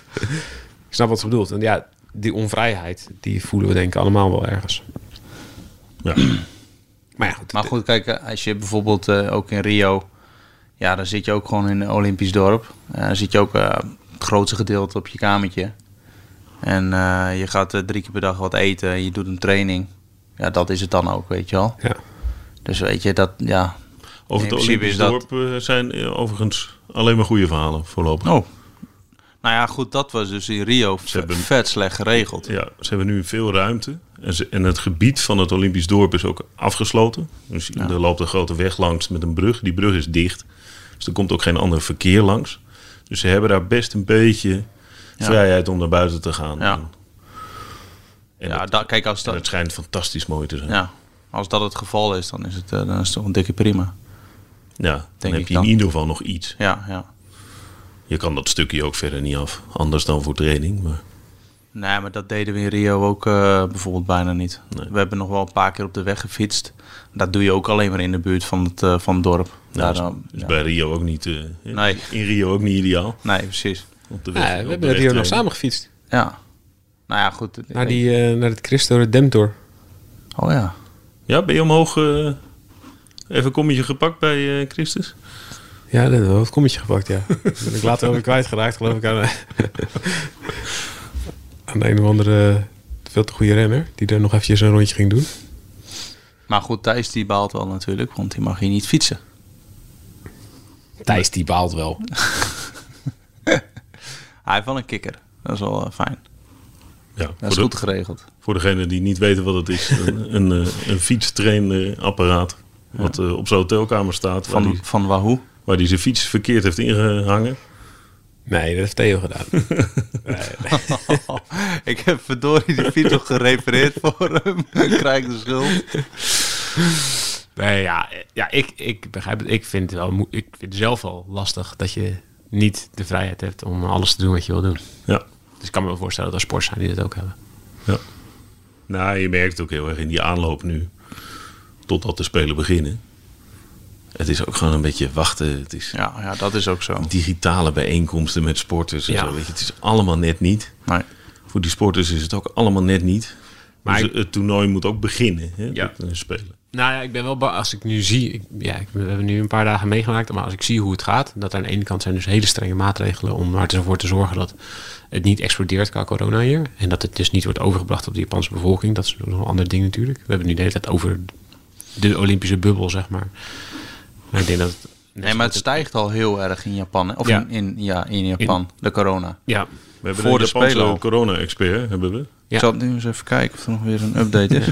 S3: ik snap wat ze bedoelt. En ja, die onvrijheid, die voelen we denk ik allemaal wel ergens.
S1: Ja.
S3: *clears throat* Maar ja, goed.
S2: Maar goed, kijk, eh, als je bijvoorbeeld eh, ook in Rio... Ja, dan zit je ook gewoon in een Olympisch dorp. Eh, dan zit je ook eh, het grootste gedeelte op je kamertje. En eh, je gaat eh, drie keer per dag wat eten. Je doet een training. Ja, dat is het dan ook, weet je wel.
S3: Ja.
S2: Dus weet je, dat, ja...
S1: Over
S2: In
S1: het
S2: principe
S1: Olympisch
S2: is dat-
S1: dorp eh, zijn eh, overigens alleen maar goede verhalen voorlopig.
S2: Oh. Nou ja, goed, dat was dus in Rio v-
S1: hebben-
S2: vet slecht geregeld.
S1: Ja, ze hebben nu veel ruimte. En, ze- en het gebied van het Olympisch dorp is ook afgesloten. Dus er loopt een grote weg langs met een brug. Die brug is dicht. Dus er komt ook geen ander verkeer langs. Dus ze hebben daar best een beetje vrijheid om naar buiten te gaan.
S2: Ja.
S1: En, en
S2: Ja,
S1: het,
S2: da- kijk, als
S1: en het
S2: dat,
S1: schijnt fantastisch mooi te zijn. Ja,
S2: ja, als dat het geval is, dan is het, eh, dan is het toch een dikke prima.
S1: dan
S2: ik
S1: heb je
S2: dan.
S1: in ieder geval nog iets.
S2: Ja, ja.
S1: Je kan dat stukje ook verder niet af. Anders dan voor training. Maar
S2: Nee, maar dat deden we in Rio ook eh, bijvoorbeeld bijna niet.
S1: Nee.
S2: We hebben nog wel een paar keer op de weg gefietst. Dat doe je ook alleen maar in de buurt van het, eh, van het dorp.
S1: nou, dat
S2: Daarom-
S1: is, is
S2: ja.
S1: bij Rio ook niet... eh,
S2: Nee.
S1: In Rio ook niet ideaal.
S2: Nee, precies.
S1: Op de
S3: Ja,
S1: weg, op
S3: we
S1: de
S3: hebben het
S1: weg
S3: hier nog
S1: trainen.
S3: samen gefietst.
S2: Ja. Nou ja, goed. ik
S3: Naar,
S2: weet-
S3: die, eh, naar het Christo Redemptor.
S2: Oh ja.
S1: Ja, ben je omhoog eh, even een kommetje gepakt bij eh, Christus?
S3: Ja, dat heb ik het kommetje gepakt,
S1: *laughs*
S3: ja. Dat ben ik later wel weer kwijtgeraakt, geloof ik, aan, aan de een of andere veel te goede renner. Die er nog eventjes een rondje ging doen.
S2: Maar goed, Thijs die baalt wel natuurlijk, want die mag hier niet fietsen.
S3: Thijs, die baalt wel.
S2: *laughs* Hij heeft wel een kikker. Dat is wel eh, fijn.
S1: Ja,
S2: Dat
S1: voor,
S2: is
S1: de-
S2: goed geregeld.
S1: voor degene die niet weten wat het *laughs* is, een, een, eh, een fietstrainapparaat. Wat eh, op zijn hotelkamer staat, waar
S2: Van,
S1: die,
S2: van Wahoo.
S1: waar die zijn fiets verkeerd heeft ingehangen.
S3: Nee, dat heeft Theo
S6: *laughs*
S3: gedaan.
S2: *laughs* ik heb verdorie die fiets nog gerepareerd voor hem. *laughs* Krijg ik de schuld.
S6: Nee, ja, eh, ja ik, ik begrijp het. Ik vind, het wel, moe- ik vind het zelf wel lastig dat je niet de vrijheid hebt om alles te doen wat je wil doen.
S1: Ja.
S6: Dus ik kan me wel voorstellen dat er sports zijn die dat ook hebben.
S1: ja. Nou, je merkt het ook heel erg in die aanloop nu, totdat de Spelen beginnen. Het is ook gewoon een beetje wachten. Het is
S2: Ja, ja, dat is ook zo.
S1: digitale bijeenkomsten met sporters. En
S3: Ja.
S1: zo, weet je. Het is allemaal net niet.
S2: Nee.
S1: Voor die sporters is het ook allemaal net niet.
S3: Maar
S1: dus
S3: ik-
S1: het toernooi moet ook beginnen. Hè,
S3: Ja.
S1: met, eh, spelen.
S3: Nou ja, ik ben wel bang als ik nu zie. Ik, ja, ik, we hebben nu een paar dagen meegemaakt. Maar als ik zie hoe het gaat. Dat aan de ene kant zijn dus hele strenge maatregelen. om ervoor te zorgen dat het niet explodeert qua corona hier. En dat het dus niet wordt overgebracht op de Japanse bevolking. Dat is nog een ander ding natuurlijk. We hebben nu de hele tijd over de Olympische bubbel, zeg maar. Maar ik denk dat. het-
S2: Nee, maar het stijgt al heel erg in Japan. hè? Of
S3: Ja.
S2: in, in, ja, in Japan, de corona.
S3: Ja,
S1: We hebben
S2: Voor
S1: Voor
S2: de
S1: een
S2: Spelen
S1: Japanse
S2: al.
S1: corona-expert, hebben we.
S3: Ja.
S2: Ik zal nu eens even kijken of er nog weer een update is.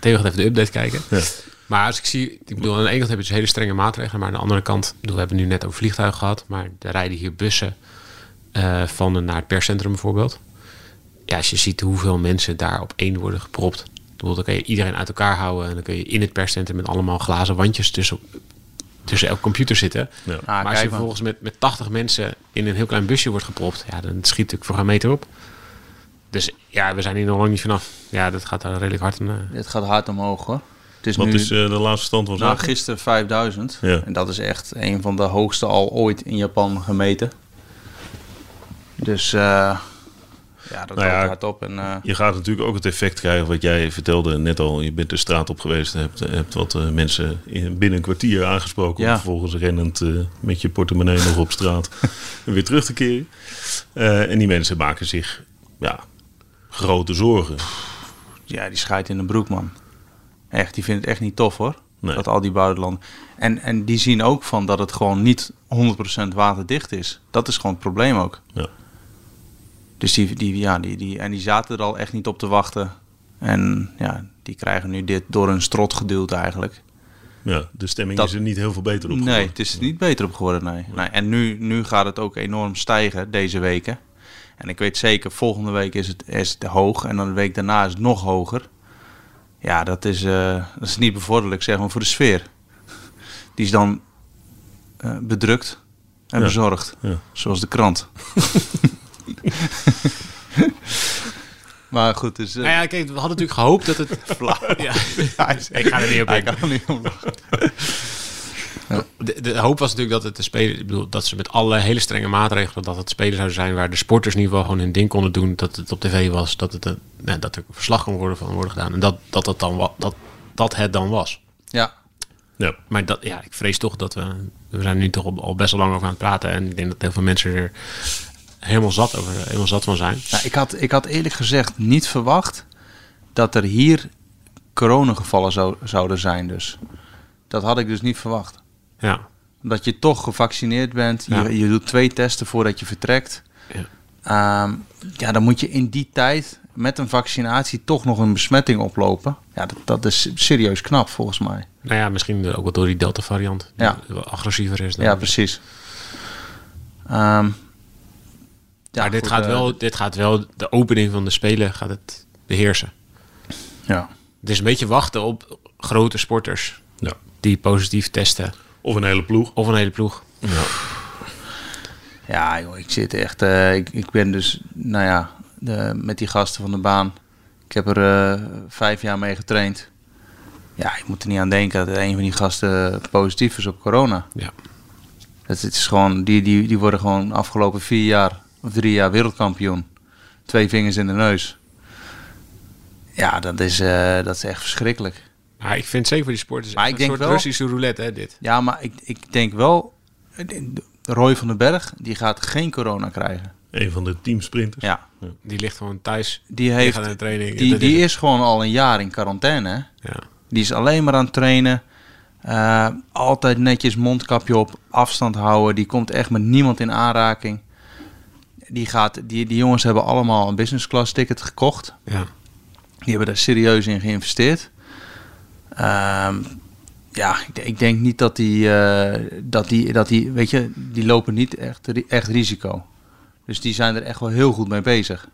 S3: Theo gaat even de update kijken.
S1: Ja.
S3: Maar als ik zie, ik bedoel, aan de ene kant heb je dus hele strenge maatregelen, maar aan de andere kant, ik bedoel, we hebben nu net over vliegtuigen gehad, maar er rijden hier bussen eh, van en naar het perscentrum bijvoorbeeld. Ja, als je ziet hoeveel mensen daar op één worden gepropt, Ik bedoel, dan kun je iedereen uit elkaar houden en dan kun je in het perscentrum met allemaal glazen wandjes tussen, tussen elk computer zitten.
S1: Ja. Ah,
S3: maar
S2: kijk
S3: als je
S2: maar.
S3: vervolgens met, met 80 mensen in een heel klein busje wordt gepropt, ja, dan schiet ik voor een meter op. Dus ja, we zijn hier nog lang niet vanaf. Ja, dat gaat daar redelijk hard. En, eh,
S2: Dit gaat hard omhoog hoor. Het is
S1: Wat
S2: nu
S1: is eh, de laatste stand van
S2: nou,
S1: zaken?
S2: gisteren 5000.
S1: Ja.
S2: En dat is echt een van de hoogste al ooit in Japan gemeten. Dus eh, ja, dat
S1: Nou ja,
S2: gaat hard op. En, eh,
S1: Je gaat natuurlijk ook het effect krijgen wat jij vertelde net al. Je bent de straat op geweest, hebt, hebt wat eh, mensen in, binnen een kwartier aangesproken.
S2: Ja.
S1: Om vervolgens rennend eh, met je portemonnee nog op
S2: *laughs*
S1: straat en weer terug te keren. Eh, en die mensen maken zich ja, grote zorgen.
S2: Ja, die scheidt in de broek, man. Echt, die vindt het echt niet tof hoor.
S1: Nee.
S2: Dat al die buitenlanden. En, en die zien ook van dat het gewoon niet 100% waterdicht is. Dat is gewoon het probleem ook.
S1: Ja.
S2: Dus die, die, ja, die, die, en die zaten er al echt niet op te wachten. En ja, die krijgen nu dit door hun strot geduwd eigenlijk.
S1: Ja, de stemming
S2: Dat-
S1: is er niet heel veel beter op
S2: Nee,
S1: geworden.
S2: het is er niet beter op geworden. Nee. Nee. En nu, nu gaat het ook enorm stijgen deze weken. En ik weet zeker, volgende week is het, is het hoog. En dan de week daarna is het nog hoger. Ja, dat is, eh, dat is niet bevorderlijk, zeg maar, voor de sfeer. Die is dan eh, bedrukt en
S1: Ja.
S2: bezorgd.
S1: Ja.
S2: Zoals de krant. *laughs* maar goed, dus... eh,
S3: Nou ja, kijk, we hadden natuurlijk gehoopt dat
S2: *laughs*
S3: het... Ja. Ik ga er niet op
S2: hij
S3: in.
S2: kan er niet om lachen.
S3: De, de hoop was natuurlijk dat het de spelers, ik bedoel, dat ze met alle hele strenge maatregelen, dat het spelen zouden zijn waar de sporters in ieder geval gewoon hun ding konden doen, dat het op tv was, dat, het, een- nou, dat er verslag kon worden van worden gedaan en dat, dat, dat, dan, wa- dat, dat het dan was.
S2: Ja,
S1: Ja.
S3: Maar dat, ja, ik vrees toch dat we, we zijn nu toch al, al best wel lang over aan het praten en ik denk dat heel veel mensen er helemaal zat, over, helemaal zat van zijn.
S2: Nou, ik, had, ik had eerlijk gezegd niet verwacht dat er hier coronagevallen zou, zouden zijn. Dus. Dat had ik dus niet verwacht.
S3: Ja.
S2: Dat je toch gevaccineerd bent,
S3: Ja.
S2: je, je doet twee testen voordat je vertrekt.
S3: Ja.
S2: Ja. ja, dan moet je in die tijd met een vaccinatie toch nog een besmetting oplopen. Ja, dat, dat is serieus knap volgens mij.
S3: Nou ja, misschien ook wel door die Delta variant, die
S2: Ja.
S3: wel agressiever is dan.
S2: Ja, precies. Ehm, ja,
S3: maar dit,
S2: goed,
S3: gaat
S2: eh,
S3: wel, dit gaat wel, de opening van de Spelen gaat het beheersen.
S2: Ja.
S3: Het is een beetje wachten op grote sporters
S1: Ja.
S3: die positief testen.
S1: Of een hele ploeg.
S3: Of een hele ploeg.
S2: Ja, joh, ik zit echt. eh, ik, ik ben dus, nou ja, de- met die gasten van de baan. Ik heb er eh, vijf jaar mee getraind. Ja, ik moet er niet aan denken dat een van die gasten eh, positief is op corona.
S3: Ja.
S2: Het, het is gewoon, die, die, die worden gewoon afgelopen vier jaar of drie jaar wereldkampioen. Twee vingers in de neus. Ja, dat is, eh, dat is echt verschrikkelijk.
S3: Maar ik vind zeker voor die sporters
S2: Maar
S3: echt
S2: ik denk
S3: een soort
S2: wel-
S3: Russische roulette, hè, dit.
S2: Ja, maar ik, ik denk wel, Roy van den Berg, die gaat geen corona krijgen.
S1: Een van de teamsprinters.
S2: Ja,
S3: Die ligt gewoon thuis.
S2: die heeft...
S3: gaat naar de training.
S2: Die,
S3: Dat
S2: die is gewoon al een jaar in quarantaine. hè?
S3: Ja.
S2: Die is alleen maar aan het trainen. Eh, altijd netjes mondkapje op, afstand houden. Die komt echt met niemand in aanraking. Die, gaat, die, die jongens hebben allemaal een business class ticket gekocht.
S3: Ja.
S2: Die hebben daar serieus in geïnvesteerd. Ehm, ja, ik, de- ik denk niet dat die, eh, dat die, dat die, weet je, die lopen niet echt, ri- echt risico. Dus die zijn er echt wel heel goed mee bezig.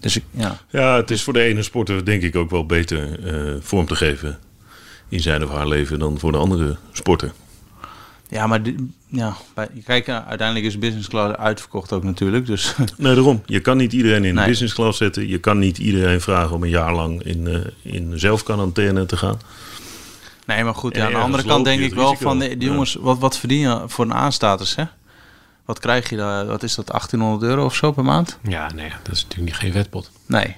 S2: Dus ik, ja.
S1: Ja, het is voor de ene sporter denk ik ook wel beter eh, vorm te geven in zijn of haar leven dan voor de andere sporter.
S2: Ja, maar di- ja, bij- kijk, eh, uiteindelijk is business class uitverkocht ook natuurlijk. Dus *laughs*
S1: Nee, daarom. Je kan niet iedereen in de
S2: Nee.
S1: business class zetten. Je kan niet iedereen vragen om een jaar lang in, eh in zelfquarantaine te gaan.
S2: Nee, maar goed,
S1: En
S2: ja, aan de
S1: ergens
S2: andere kant
S1: loop je
S2: denk ik
S1: het
S2: wel
S1: risico.
S2: van... eh, Die, die
S1: Ja.
S2: jongens, wat, wat verdien je voor een aanstatus, hè? Wat krijg je dan? Wat is dat, 1800 euro of zo per maand?
S7: Ja, nee, dat is natuurlijk niet geen vetpot.
S2: Nee.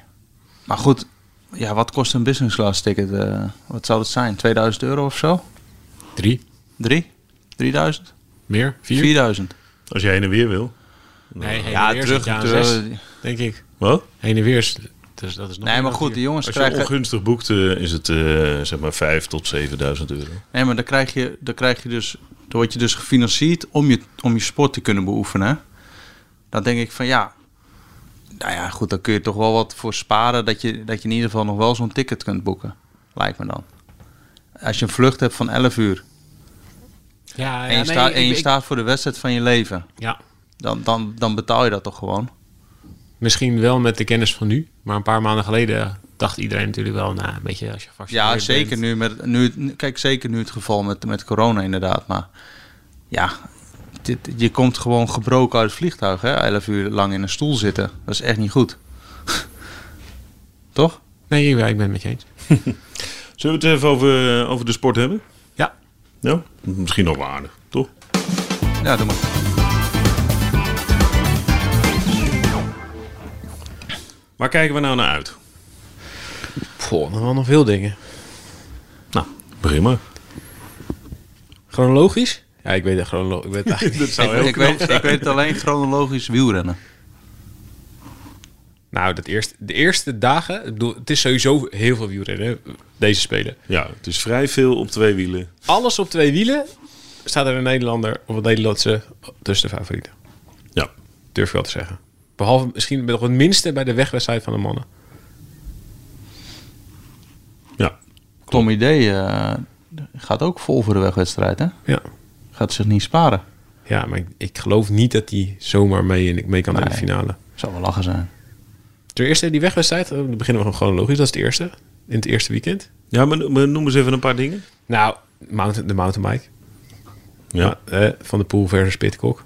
S2: Maar goed, ja, wat kost een business class ticket? eh? wat zou dat zijn? 2000 euro of zo?
S7: Drie?
S2: Drie? 3000?
S7: Meer? Vier?
S2: 4000?
S1: Als jij heen en weer wil.
S7: Nee, heen
S2: Ja,
S7: en weer
S2: terug.
S7: zit je aan
S2: terug-
S7: zes, denk ik.
S1: Wat?
S7: Heen en weer is... Dus dat is nog
S2: Eh, nee,
S7: meer
S2: maar
S7: dan
S2: goed,
S7: vier.
S2: die jongens
S1: Als je
S2: krijgen...
S1: ongunstig boekt, eh, is het eh, zeg maar 5 tot 7000 euro.
S2: Nee, maar dan krijg je, dan krijg je dus, dan word je dus gefinancierd om je, om je sport te kunnen beoefenen. hè. Dan denk ik van ja, nou ja, goed, dan kun je toch wel wat voor sparen dat je, dat je in ieder geval nog wel zo'n ticket kunt boeken. Lijkt me dan. Als je een vlucht hebt van 11 uur
S7: Ja,
S2: en
S7: ja,
S2: je,
S7: nee,
S2: staat-
S7: ik-
S2: en je
S7: ik-
S2: staat voor de wedstrijd van je leven,
S7: Ja,
S2: dan, dan, dan betaal je dat toch gewoon.
S7: misschien wel met de kennis van nu. Maar een paar maanden geleden dacht iedereen natuurlijk wel... Nou, een beetje als je gevaccineerd
S2: Ja, zeker
S7: bent.
S2: nu, met, nu. het- Kijk, zeker nu het geval met, met corona, inderdaad. Maar ja, dit, je komt gewoon gebroken uit het vliegtuig, hè? 11 uur lang in een stoel zitten. Dat is echt niet goed. *laughs* Toch?
S7: Nee, ik ben, ik ben het met je eens.
S1: Zullen we het even over, eh, over de sport hebben?
S7: Ja.
S1: Ja? Misschien nog wel aardig, toch?
S2: Ja, doe maar.
S1: Waar kijken we nou naar uit?
S3: Goh, dan wel nog veel dingen.
S1: Nou, begin maar.
S3: Chronologisch? Ja, ik weet het chronologisch. Ik weet
S7: *laughs*
S3: het eigenlijk niet.
S2: Ik, ik weet, ik weet alleen chronologisch wielrennen.
S3: Nou, dat eerste, de eerste dagen... Ik bedoel, het is sowieso heel veel wielrennen, hè, deze spelen.
S1: Ja, het is vrij veel op twee wielen.
S3: Alles op twee wielen staat er een Nederlander of een Nederlandse tussen de favorieten.
S1: Ja.
S3: Durf ik wel te zeggen. Behalve misschien nog het minste bij de wegwedstrijd van de mannen.
S1: Ja.
S2: Tom Idee eh, gaat ook vol voor de wegwedstrijd, hè?
S3: Ja.
S2: Gaat zich niet sparen.
S3: Ja, maar ik, ik geloof niet dat hij zomaar mee, en- mee kan in de
S2: Nee.
S3: finale.
S2: Zou wel lachen zijn.
S3: Ten eerste die wegwedstrijd. eh, Dan beginnen we gewoon logisch. Dat is het eerste. In het eerste weekend.
S1: Ja, maar no- maar noem eens even een paar dingen.
S3: Nou, mountain, de mountainbike.
S1: Ja.
S3: Ja, eh, van de Poel versus Pitcock.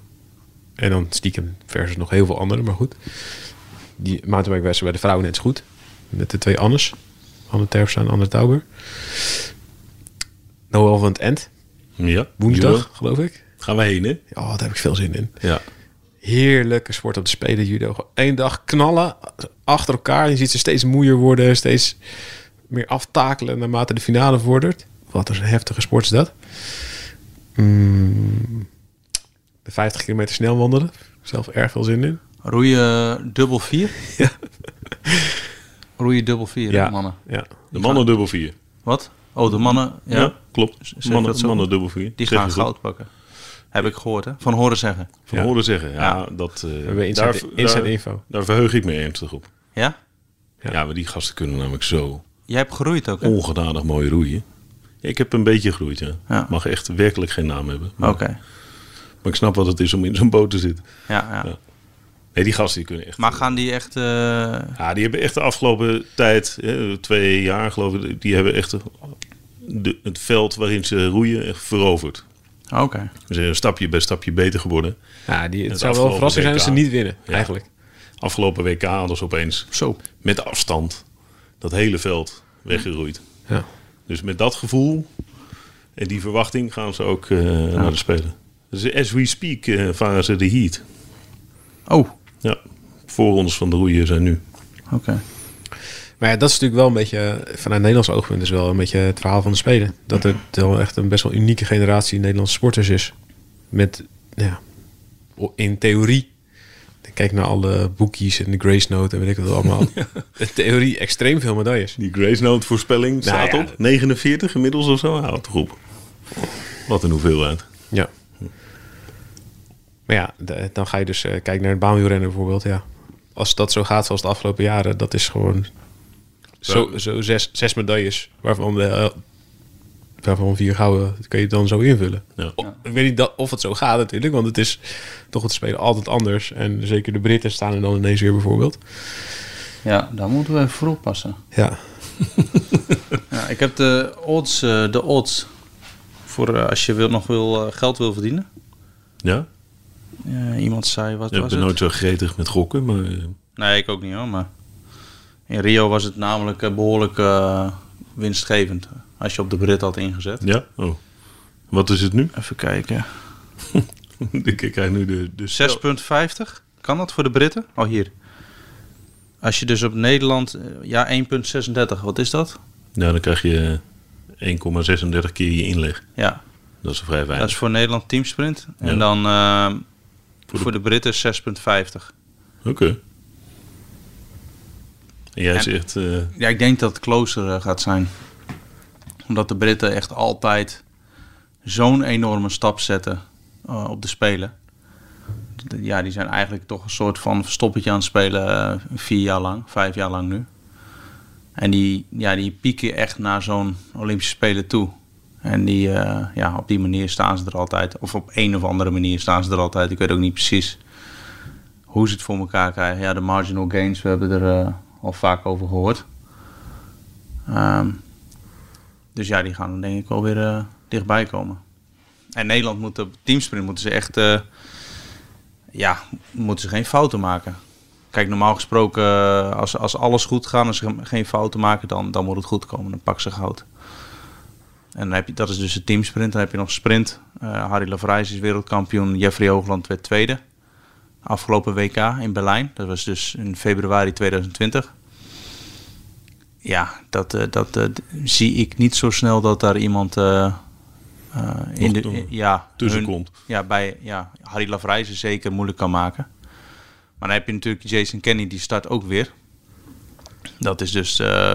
S3: En dan stiekem versus nog heel veel anderen, maar goed. Die mountainbike wedstrijd bij de vrouwen net zo goed. Met de twee Annes. Anne Terpstra en Anne Tauber. Noël van het End.
S1: Ja.
S3: Woensdag,
S1: Judo.
S3: geloof ik.
S1: Gaan we heen, hè?
S3: Ja, daar heb ik veel zin in.
S1: Ja.
S3: Heerlijke sport om te spelen, judo. Gewoon Eén dag knallen achter elkaar. Je ziet ze steeds moeier worden, steeds meer aftakelen naarmate de finale vordert. Wat een heftige sport is dat. Mm. De 50 kilometer snel wandelen. Zelf erg veel zin in.
S2: Roeien eh, dubbel vier?
S3: Ja.
S2: Roeien dubbel vier, hè, mannen.
S3: ja.
S1: De mannen dubbel vier.
S2: Wat? Oh, de mannen.
S1: Ja,
S2: ja.
S1: klopt.
S2: ik
S1: mannen
S2: dat zo?
S1: mannen dubbel vier.
S2: Die
S1: Zeg
S2: gaan
S1: je goed.
S2: goud pakken. Heb ik gehoord, hè? Van horen zeggen.
S1: Van
S3: Ja.
S1: horen zeggen. Ja, dat... eh,
S3: hebben inside- inside info.
S1: Daar verheug ik me ernstig op.
S2: Ja?
S1: Ja. maar die gasten kunnen namelijk zo
S2: Jij hebt geroeid ook, hè?
S1: ongenadig mooi roeien. Ja, ik heb een beetje geroeid, ja.
S2: Ja.
S1: Mag echt werkelijk geen naam hebben. Maar,
S2: Oké.
S1: maar ik snap wat het is om in zo'n boot te zitten.
S2: Ja, ja.
S1: Nee, die gasten die kunnen echt...
S2: Maar gaan die echt... eh,
S1: Ja, die hebben echt de afgelopen tijd, hè, twee jaar geloof ik, die hebben echt de, het veld waarin ze roeien echt veroverd.
S2: Oké.
S1: Ze zijn stapje bij stapje beter geworden.
S3: ja die, het,
S1: Het
S3: zou wel
S1: afgelopen
S3: een verrassing zijn als ze
S1: WK.
S3: niet winnen,
S1: Ja.
S3: eigenlijk.
S1: Afgelopen WK hadden ze opeens
S2: Zo.
S1: met afstand dat hele veld weggeroeid.
S3: Ja.
S1: Dus met dat gevoel en die verwachting gaan ze ook eh, naar de Spelen. Dus as we speak eh, varen ze de heat.
S2: Oh, oké.
S1: Ja, voor ons van de roeien zijn nu.
S3: Maar ja, dat is natuurlijk wel een beetje, eh, vanuit Nederlands oogpunt, is wel een beetje het verhaal van de Spelen. Dat het wel echt een best wel unieke generatie Nederlandse sporters is. Met, ja, in theorie. Kijk naar alle boekies en de Grace Note en weet ik wat allemaal. In theorie extreem veel medailles.
S1: Die Grace Note voorspelling staat
S3: ja.
S1: op 49 inmiddels of zo. Houdt toch op. Wat een hoeveelheid.
S3: Ja. Maar ja, de- dan ga je dus eh kijken naar het baanwielrennen bijvoorbeeld. Ja. Als dat zo gaat zoals de afgelopen jaren, dat is gewoon zo, zo zes, zes medailles, waarvan, de, eh, waarvan vier gouden, dat kun je dan zo invullen.
S1: Ja.
S3: O- Ik weet niet dat, of het zo gaat natuurlijk, want het is toch het spelen altijd anders. En zeker de Britten staan er dan ineens weer bijvoorbeeld.
S2: Ja, daar moeten we even voor oppassen.
S3: Ja.
S2: Ja, ik heb de odds, eh, de odds voor eh, als je wil, nog wil, eh, geld wil verdienen.
S1: Ja?
S2: Eh, iemand zei, wat
S1: Ik
S2: was
S1: ben
S2: het?
S1: nooit zo gretig met gokken, maar eh,
S2: Nee, ik ook niet hoor, maar... In Rio was het namelijk eh, behoorlijk eh, winstgevend. Als je op de Brit had ingezet.
S1: Ja? Oh. Wat is het nu? *laughs*
S2: Even kijken.
S1: Ik krijg nu de, de
S2: 6,50? Kan dat voor de Britten? Oh, hier. Als je dus op Nederland... eh, Ja, 1,36. Wat is dat?
S1: Nou, dan krijg je eh, 1,36 keer je inleg.
S2: Ja,
S1: Dat is vrij
S2: dat
S1: weinig.
S2: is voor Nederland teamsprint. En
S1: Ja.
S2: dan ehm,
S1: de-
S2: voor de Britten 6,50.
S1: Oké. En jij zegt... eh,
S2: Ja, ik denk dat het closer eh, gaat zijn. Omdat de Britten echt altijd zo'n enorme stap zetten eh, op de Spelen. D- Ja, die zijn eigenlijk toch een soort van verstoppertje aan het spelen eh, vier jaar lang, vijf jaar lang nu. En die, ja, die pieken echt naar zo'n Olympische Spelen toe. En die, eh, ja, op die manier staan ze er altijd. Of op een of andere manier staan ze er altijd. Ik weet ook niet precies hoe ze het voor elkaar krijgen. Ja, de marginal gains, we hebben er eh, al vaak over gehoord. Ehm, dus ja, die gaan dan denk ik wel weer eh, dichtbij komen. En Nederland moet op teamsprint moeten ze echt, eh, ja, moeten ze geen fouten maken. Kijk, normaal gesproken, eh, als, als alles goed gaat en ze geen- geen fouten maken, dan, dan moet het goed komen. Dan pak ze goud. En dan heb je, dat is dus de teamsprint. Dan heb je nog sprint. Eh, Harry Lavrijs is wereldkampioen. Jeffrey Hoogland werd tweede afgelopen WK in Berlijn. Dat was dus in februari 2020. Ja, dat, eh, dat eh, d- zie ik niet zo snel dat daar iemand eh, eh, in de,
S1: Nog, eh,
S2: ja,
S1: tussenkomt.
S2: hun- Ja, bij ja, Harry Lavrijzen zeker moeilijk kan maken. Maar dan heb je natuurlijk Jason Kenny, die start ook weer. Dat is dus eh,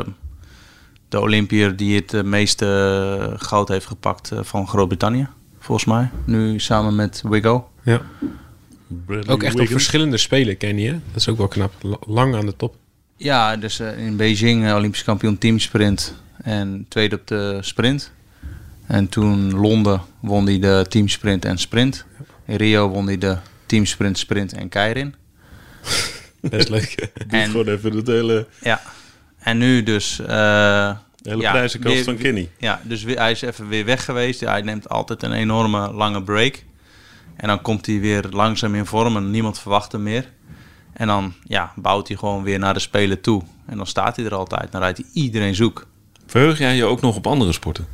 S2: de Olympier die het eh, meeste goud heeft gepakt eh, van Groot-Brittannië, volgens mij. Nu samen met Wiggo.
S4: Ja.
S1: Bradley
S4: Ook echt op
S1: Wiggins? *laughs*
S4: verschillende spelen ken je. hè? Dat is ook wel knap. La- Lang aan de top.
S2: Ja, dus eh, in Beijing eh, Olympisch kampioen teamsprint en tweede op de sprint. En toen Londen won hij de teamsprint en sprint. In Rio won hij de teamsprint, sprint en keirin.
S3: *laughs*
S4: Best leuk.
S1: Doe
S2: En-
S1: Gewoon even het hele,
S2: Ja. En nu dus... eh
S1: hele
S2: ja,
S1: prijzenkast
S2: weer-
S1: van Kenny.
S2: Ja, dus weer- hij is even weer weg geweest. Hij neemt altijd een enorme lange break. En dan komt hij weer langzaam in vorm en niemand verwacht hem meer. En dan ja, bouwt hij gewoon weer naar de Spelen toe. En dan staat hij er altijd. Dan rijdt hij iedereen zoek.
S1: Verheug jij je ook nog op andere sporten?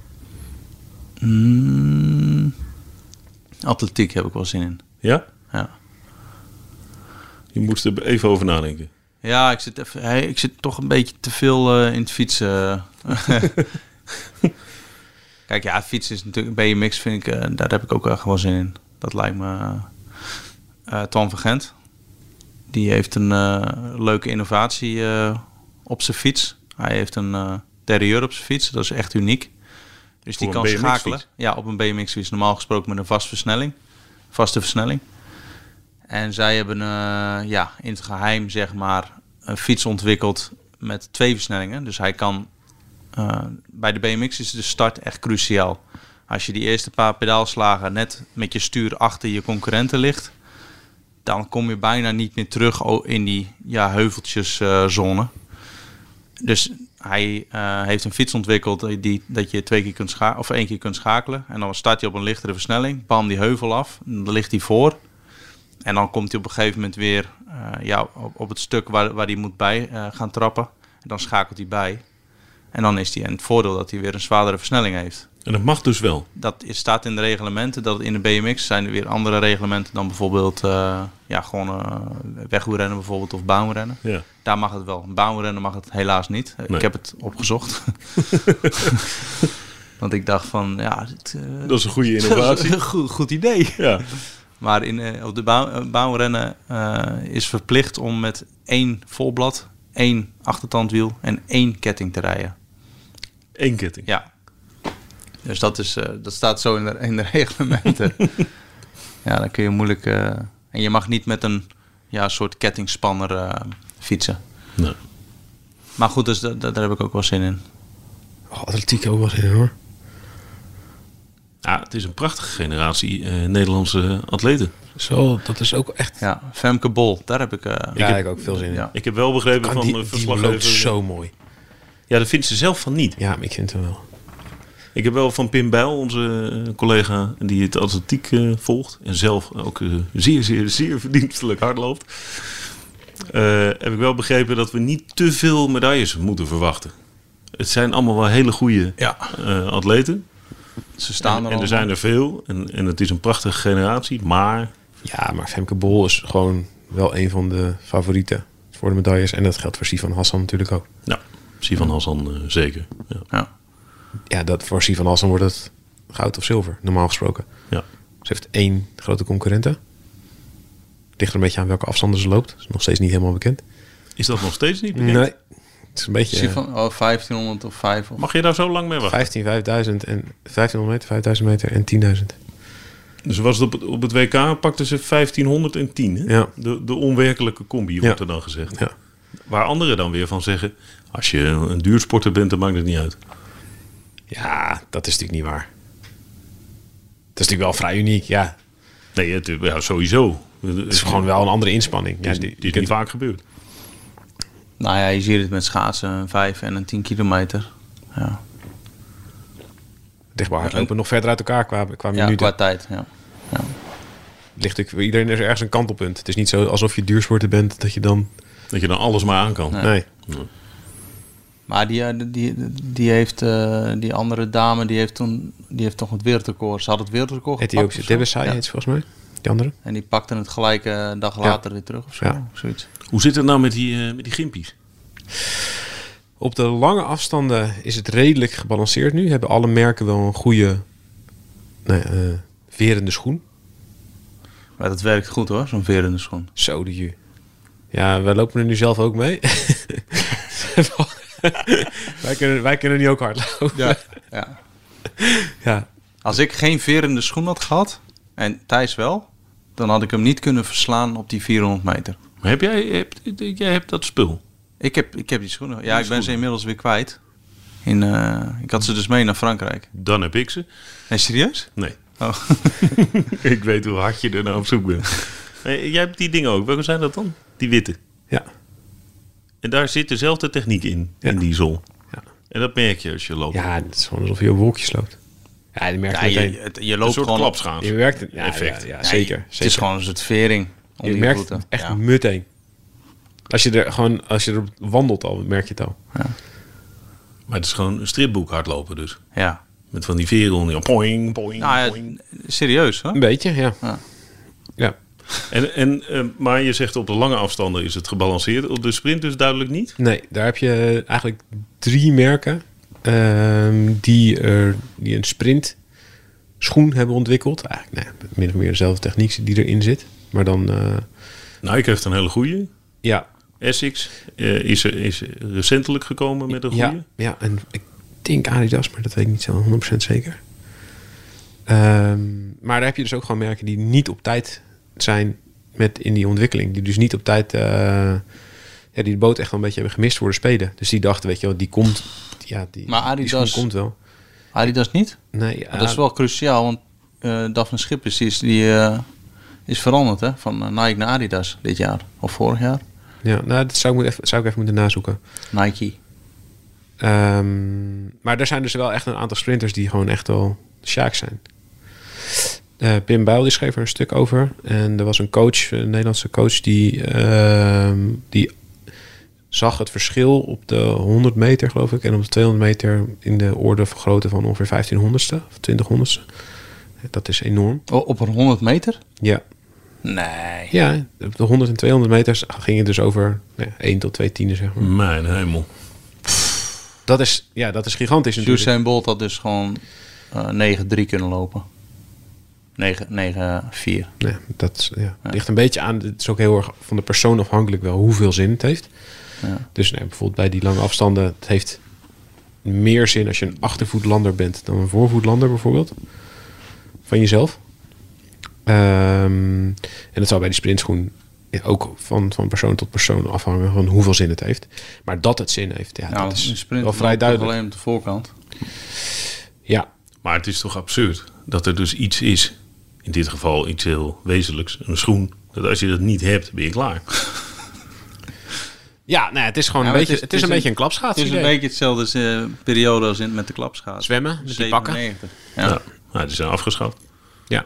S2: Mm, atletiek heb ik wel zin in.
S1: Ja?
S2: Ja.
S1: Je moest er even over nadenken.
S2: Ja, ik zit, even, hey, ik zit toch een beetje te veel eh, in het fietsen. Kijk, ja, fietsen is natuurlijk... BMX vind ik... eh, daar heb ik ook echt wel zin in. Dat lijkt me... eh Tom van Gent. Die heeft een eh, leuke innovatie eh, op zijn fiets. Hij heeft een eh derrière op zijn fiets. Dat is echt uniek. Dus die
S1: Voor
S2: kan
S1: een BMX
S2: schakelen.
S1: fiets?
S2: Ja, op een BMX-fiets. Normaal gesproken met een vaste versnelling. Vaste versnelling. En zij hebben eh, ja, in het geheim zeg maar, een fiets ontwikkeld met twee versnellingen. Dus hij kan. eh, bij de BMX is de start echt cruciaal. Als je die eerste paar pedaalslagen net met je stuur achter je concurrenten ligt, dan kom je bijna niet meer terug o- in die ja, heuveltjeszone. dus hij eh, heeft een fiets ontwikkeld die, dat je twee keer kunt scha- of één keer kunt schakelen. En dan start hij op een lichtere versnelling, bam die heuvel af, dan ligt hij voor. En dan komt hij op een gegeven moment weer eh, ja, op, op het stuk waar, waar hij moet bij eh, gaan trappen. En dan schakelt hij bij. En dan is hij en het voordeel dat hij weer een zwaardere versnelling heeft.
S1: En dat mag dus wel.
S2: Dat is, staat in de reglementen. Dat in de BMX zijn er weer andere reglementen dan bijvoorbeeld eh, ja, gewoon eh, wegwielrennen bijvoorbeeld of baanrennen.
S1: Ja.
S2: Daar mag het wel. Baanrennen mag het helaas niet. Eh,
S1: Nee.
S2: Ik heb het
S1: *laughs*
S2: opgezocht. Want ik dacht van, ja, dit, eh,
S1: *laughs* Dat is een goede
S2: dat
S1: innovatie.
S2: is een *laughs* goed, goed idee.
S1: Ja.
S2: Maar in, eh, op de bouw, eh, bouwrennen eh, is verplicht om met één volblad, één achtertandwiel en één ketting te rijden.
S1: Eén ketting.
S2: Ja. Dus dat, is, eh, dat staat zo in de, in de *laughs* reglementen. ja, dan kun je moeilijk... eh, en je mag niet met een ja, soort kettingspanner eh, fietsen.
S1: Nou.
S2: Maar goed, dus da- da- daar heb ik ook wel zin in.
S4: Oh, atletiek ook wel zin in, hoor.
S1: Ja, het is een prachtige generatie eh, Nederlandse atleten.
S4: Zo, dat is ook echt...
S2: Ja, Femke Bol, daar heb ik... eh,
S4: Ja, ik, ook veel zin in.
S2: ja.
S1: Ik heb wel begrepen
S4: Kan
S3: Ah,
S1: van
S4: die,
S1: de
S4: die loopt
S1: verslaggever...
S4: zo mooi.
S1: Ja, dat vindt ze zelf van niet.
S4: Ja, maar ik vind hem wel. Ik
S1: Ik heb wel van Pim Bijl, onze eh, collega die het atletiek eh, volgt en zelf ook eh, zeer, zeer, zeer verdienstelijk hardloopt, eh, heb ik wel begrepen dat we niet te veel medailles moeten verwachten. het zijn allemaal wel hele goede
S2: Ja.
S1: eh, atleten.
S2: Ze staan er
S1: En er
S2: al.
S1: zijn er veel. En, en het is een prachtige generatie. Maar
S3: Ja, maar Femke Bol is gewoon wel een van de favorieten voor de medailles. En dat geldt voor Sivan Hassan natuurlijk ook.
S1: ja, Sivan Hassan eh, zeker. Ja.
S2: Ja.
S3: Ja, dat, voor Sivan Hassan wordt het goud of zilver, normaal gesproken.
S1: Ja.
S3: Ze heeft één grote concurrente. Ligt er een beetje aan welke afstanden ze loopt. is nog steeds niet helemaal bekend.
S1: Is dat nog steeds niet bekend?
S3: Nee. Het is een beetje... eh,
S2: Zie je van oh, 1500 of 5 of
S1: Mag je daar zo lang mee wachten?
S3: 15, 5000 en 1500 meter, 5000 meter en 10.000.
S1: Dus was het op, het- op het WK pakten ze 1500 en 10. Hè?
S3: Ja.
S1: De, de onwerkelijke combi wordt
S3: Ja.
S1: er dan gezegd.
S3: Ja.
S1: Waar anderen dan weer van zeggen... als je een duursporter bent, dan maakt het niet uit.
S3: ja, dat is natuurlijk niet waar. Dat is natuurlijk wel vrij uniek, ja.
S1: Nee, het, ja, sowieso. Het
S3: Het is gewoon wel een andere inspanning. Ja,
S1: is,
S3: die-
S1: dit is niet vaak gebeurd.
S2: Nou ja, je ziet het met schaatsen, een 5 en een 10 kilometer. Ja,
S3: Dichtbaar lopen nog verder uit elkaar qua, qua
S2: ja
S3: minuten.
S2: qua tijd. Ja. Ja.
S3: Ligt natuurlijk, iedereen is ergens een kantelpunt. Het is niet zo alsof je duursporter bent dat je dan...
S1: Dat je dan alles maar aan kan.
S3: Nee.
S2: Maar die, eh, die, die, heeft, eh, die andere dame, die heeft, toen, die heeft toch het wereldrecord. Ze had het wereldrecord gepakt
S3: Ethiopische
S2: of zo.
S3: Debessai
S2: Ja.
S3: heet ze volgens mij. Die andere.
S2: En die pakte het gelijk eh, een dag later weer terug of zo.
S3: Ja.
S2: of zoiets.
S1: Hoe zit het nou met die, eh, met die gimpies?
S3: Op de lange afstanden is het redelijk gebalanceerd nu. Hebben alle merken wel een goede nou ja, eh, verende schoen.
S2: Maar dat werkt goed hoor, zo'n veer in de schoen.
S3: Zo de ju. Ja, wij lopen er nu zelf ook mee. *laughs* wij, kunnen, wij kunnen niet ook hard lopen. Ja.
S2: Ja.
S3: ja.
S2: Als ik geen veer in de schoen had gehad, en Thijs wel, dan had ik hem niet kunnen verslaan op die 400 meter.
S1: Maar heb jij, heb, jij hebt dat spul.
S2: Ik heb, ik heb die schoenen. Ja, ik ben ze inmiddels weer kwijt. In, eh, ik had ze dus mee naar Frankrijk.
S1: Dan heb ik ze.
S2: Nee, serieus?
S1: Nee.
S2: Oh.
S1: *laughs* ik weet hoe hard je er nou op zoek bent. Nee, jij hebt die dingen ook. Welke zijn dat dan? Die witte.
S3: ja.
S1: En daar zit dezelfde techniek in. In die zon.
S3: Ja.
S1: En dat merk je als je loopt.
S3: Ja, het is gewoon alsof je op wolkjes loopt. Ja, dan merk
S2: Ja,
S3: je
S2: je,
S3: meteen.
S2: het- je
S1: Een
S2: loopt
S1: soort
S2: gewoon...
S1: klapschaats.
S3: Je werkt het. Ja,
S1: Effect.
S3: ja, ja,
S2: Ja,
S3: zeker.
S2: je- Het
S3: zeker.
S2: is gewoon een soort vering om
S3: je
S2: die
S3: merkt
S2: voeten.
S3: het echt
S2: Ja.
S3: meteen. Als je er gewoon, als je erop wandelt al, merk je het al.
S1: Maar het is gewoon een stripboek hardlopen dus.
S2: ja.
S1: Met van die veren onder. Poing, poing,
S2: Nou
S1: poing.
S2: ja, serieus hoor.
S3: Een beetje, ja.
S2: Ja.
S3: Ja.
S1: En, en, eh, maar je zegt op de lange afstanden is het gebalanceerd. Op de sprint dus duidelijk niet.
S3: Nee, daar heb je eigenlijk drie merken ehm, die, er, die een sprint schoen hebben ontwikkeld. Eigenlijk nee, min of meer dezelfde techniek die erin zit. Maar dan, eh,
S1: Nike heeft Nou, een hele goede.
S3: ja,
S1: Essex eh, is, er- is recentelijk gekomen met een goede.
S3: ja, ja, en ik denk Adidas, maar dat weet ik niet zo 100% zeker. Ehm, maar daar heb je dus ook gewoon merken die niet op tijd zijn met in die ontwikkeling. Die dus niet op tijd, eh, ja, die de boot echt wel een beetje hebben gemist voor de spelen. Dus die dachten, weet je wel, die komt, ja, die,
S2: Maar
S3: die
S2: Adidas-
S3: schoen komt wel.
S2: Adidas niet?
S3: Nee,
S2: Maar dat is wel cruciaal, want eh Daphne Schippers die is, die, eh, is veranderd hè? van eh, Nike naar Adidas dit jaar. Of vorig jaar.
S3: Ja, nou, dat zou ik, moet even, zou ik even moeten nazoeken.
S2: Nike.
S3: Ehm, maar er zijn dus wel echt een aantal sprinters die gewoon echt wel Sjaak zijn. Eh, Pim Bijl die schreef er een stuk over. En er was een coach, een Nederlandse coach, die, ehm, die zag het verschil op de 100 meter, geloof ik. En op de 200 meter in de orde van grootte van ongeveer 1500ste of 2000ste. Dat is enorm.
S2: O, op een 100 meter?
S3: Ja,
S2: Nee.
S3: ja op de 100 en 200 meters ging het dus over nou ja, 1 tot 2 tienden, zeg maar.
S1: Mijn hemel.
S3: Dat is, ja, dat is gigantisch natuurlijk.
S2: Usain Bolt had dus gewoon eh 9-3 kunnen lopen. 9-4.
S3: Nee, dat is- ja. Het ligt een beetje aan. Het is ook heel erg van de persoon afhankelijk wel hoeveel zin het heeft.
S2: Ja.
S3: Dus nee, bijvoorbeeld bij die lange afstanden, het heeft meer zin als je een achtervoetlander bent dan een voorvoetlander bijvoorbeeld. Van jezelf. Ehm, en dat zou bij die sprintschoen ook van, van persoon tot persoon afhangen van hoeveel zin het heeft. Maar dat het zin heeft, ja,
S2: Nou,
S3: dat
S2: een
S3: is
S2: sprint
S3: wel vrij
S2: loopt toch
S3: duidelijk.
S2: alleen op de voorkant.
S3: Ja,
S1: Maar het is toch absurd dat er dus iets is. In dit geval iets heel wezenlijks. Een schoen. Dat als je dat niet hebt, ben je klaar.
S3: ja nou, het is gewoon
S2: Ja,
S3: een
S2: maar
S3: beetje, het is, een, beetje een klapschaats.
S2: Het is een
S3: idee.
S2: beetje hetzelfde als, eh, periode als in, met de klapschaats.
S3: Zwemmen, met die pakken.
S2: 97.
S1: Ja.
S2: Ja.
S1: Nou, die zijn afgeschaft.
S3: Ja.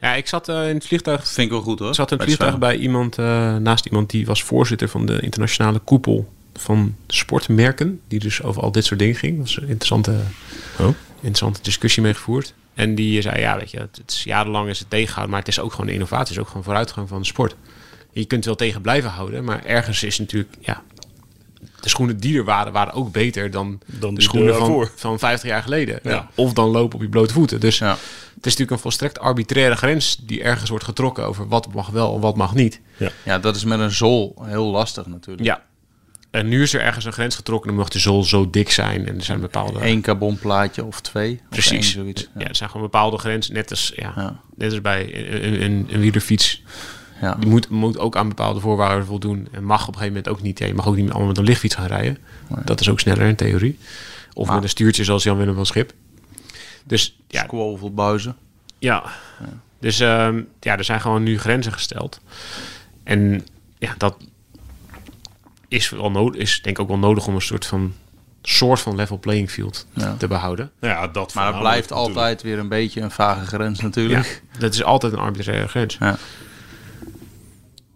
S3: ja, ik zat eh, in het vliegtuig
S2: Vind ik wel goed hoor.
S3: Er zat een
S2: Bij het
S3: vliegtuig
S2: zwemmen.
S3: bij iemand, eh, naast iemand die was voorzitter van de internationale koepel van sportmerken. Die dus over al dit soort dingen ging. Dat is een interessante,
S1: Oh.
S3: interessante discussie mee gevoerd. En die zei, ja, weet je, het, het is jarenlang is het tegenhouden. Maar het is ook gewoon innovatie. Het is ook gewoon vooruitgang van de sport. Je kunt wel tegen blijven houden. Maar ergens is natuurlijk, ja... De schoenen die er waren, waren ook beter dan,
S1: die
S3: de schoenen van,
S1: daarvoor.
S3: van 50 jaar geleden.
S1: Ja.
S3: Ja. Of dan lopen op je blote voeten. Dus
S2: Ja.
S3: het is natuurlijk een volstrekt arbitraire grens die ergens wordt getrokken over wat mag wel en wat mag niet.
S2: Ja, dat is met een zool heel lastig natuurlijk.
S3: Ja. En nu is er ergens een grens getrokken. Dan mag de zool zo dik zijn. En er zijn bepaalde.
S2: Eén carbonplaatje of twee. of één,
S3: precies.
S2: zoiets.
S3: ja. er zijn gewoon bepaalde grenzen. Net als, ja,
S2: Ja.
S3: Net als bij een, een, een, een wielerfiets.
S2: Ja.
S3: Je moet, moet ook aan bepaalde voorwaarden voldoen. En mag op een gegeven moment ook niet. Ja, je mag ook niet allemaal met een lichtfiets gaan rijden. Dat is ook sneller in theorie. Of met een stuurtje zoals Jan-Willem van Schip. Dus ja,
S2: Squovelbuizen.
S3: Ja. Dus ehm, ja, er zijn gewoon nu grenzen gesteld. En ja, dat is, wel nodig, is denk ik ook wel nodig om een soort van, soort van level playing field
S2: Ja.
S3: te behouden.
S1: Nou ja, dat
S2: Maar dat
S1: voornamelijk
S2: blijft
S1: natuurlijk.
S2: altijd weer een beetje een vage grens
S3: Ja,
S2: natuurlijk.
S3: dat is altijd een arbitraire grens.
S2: Ja.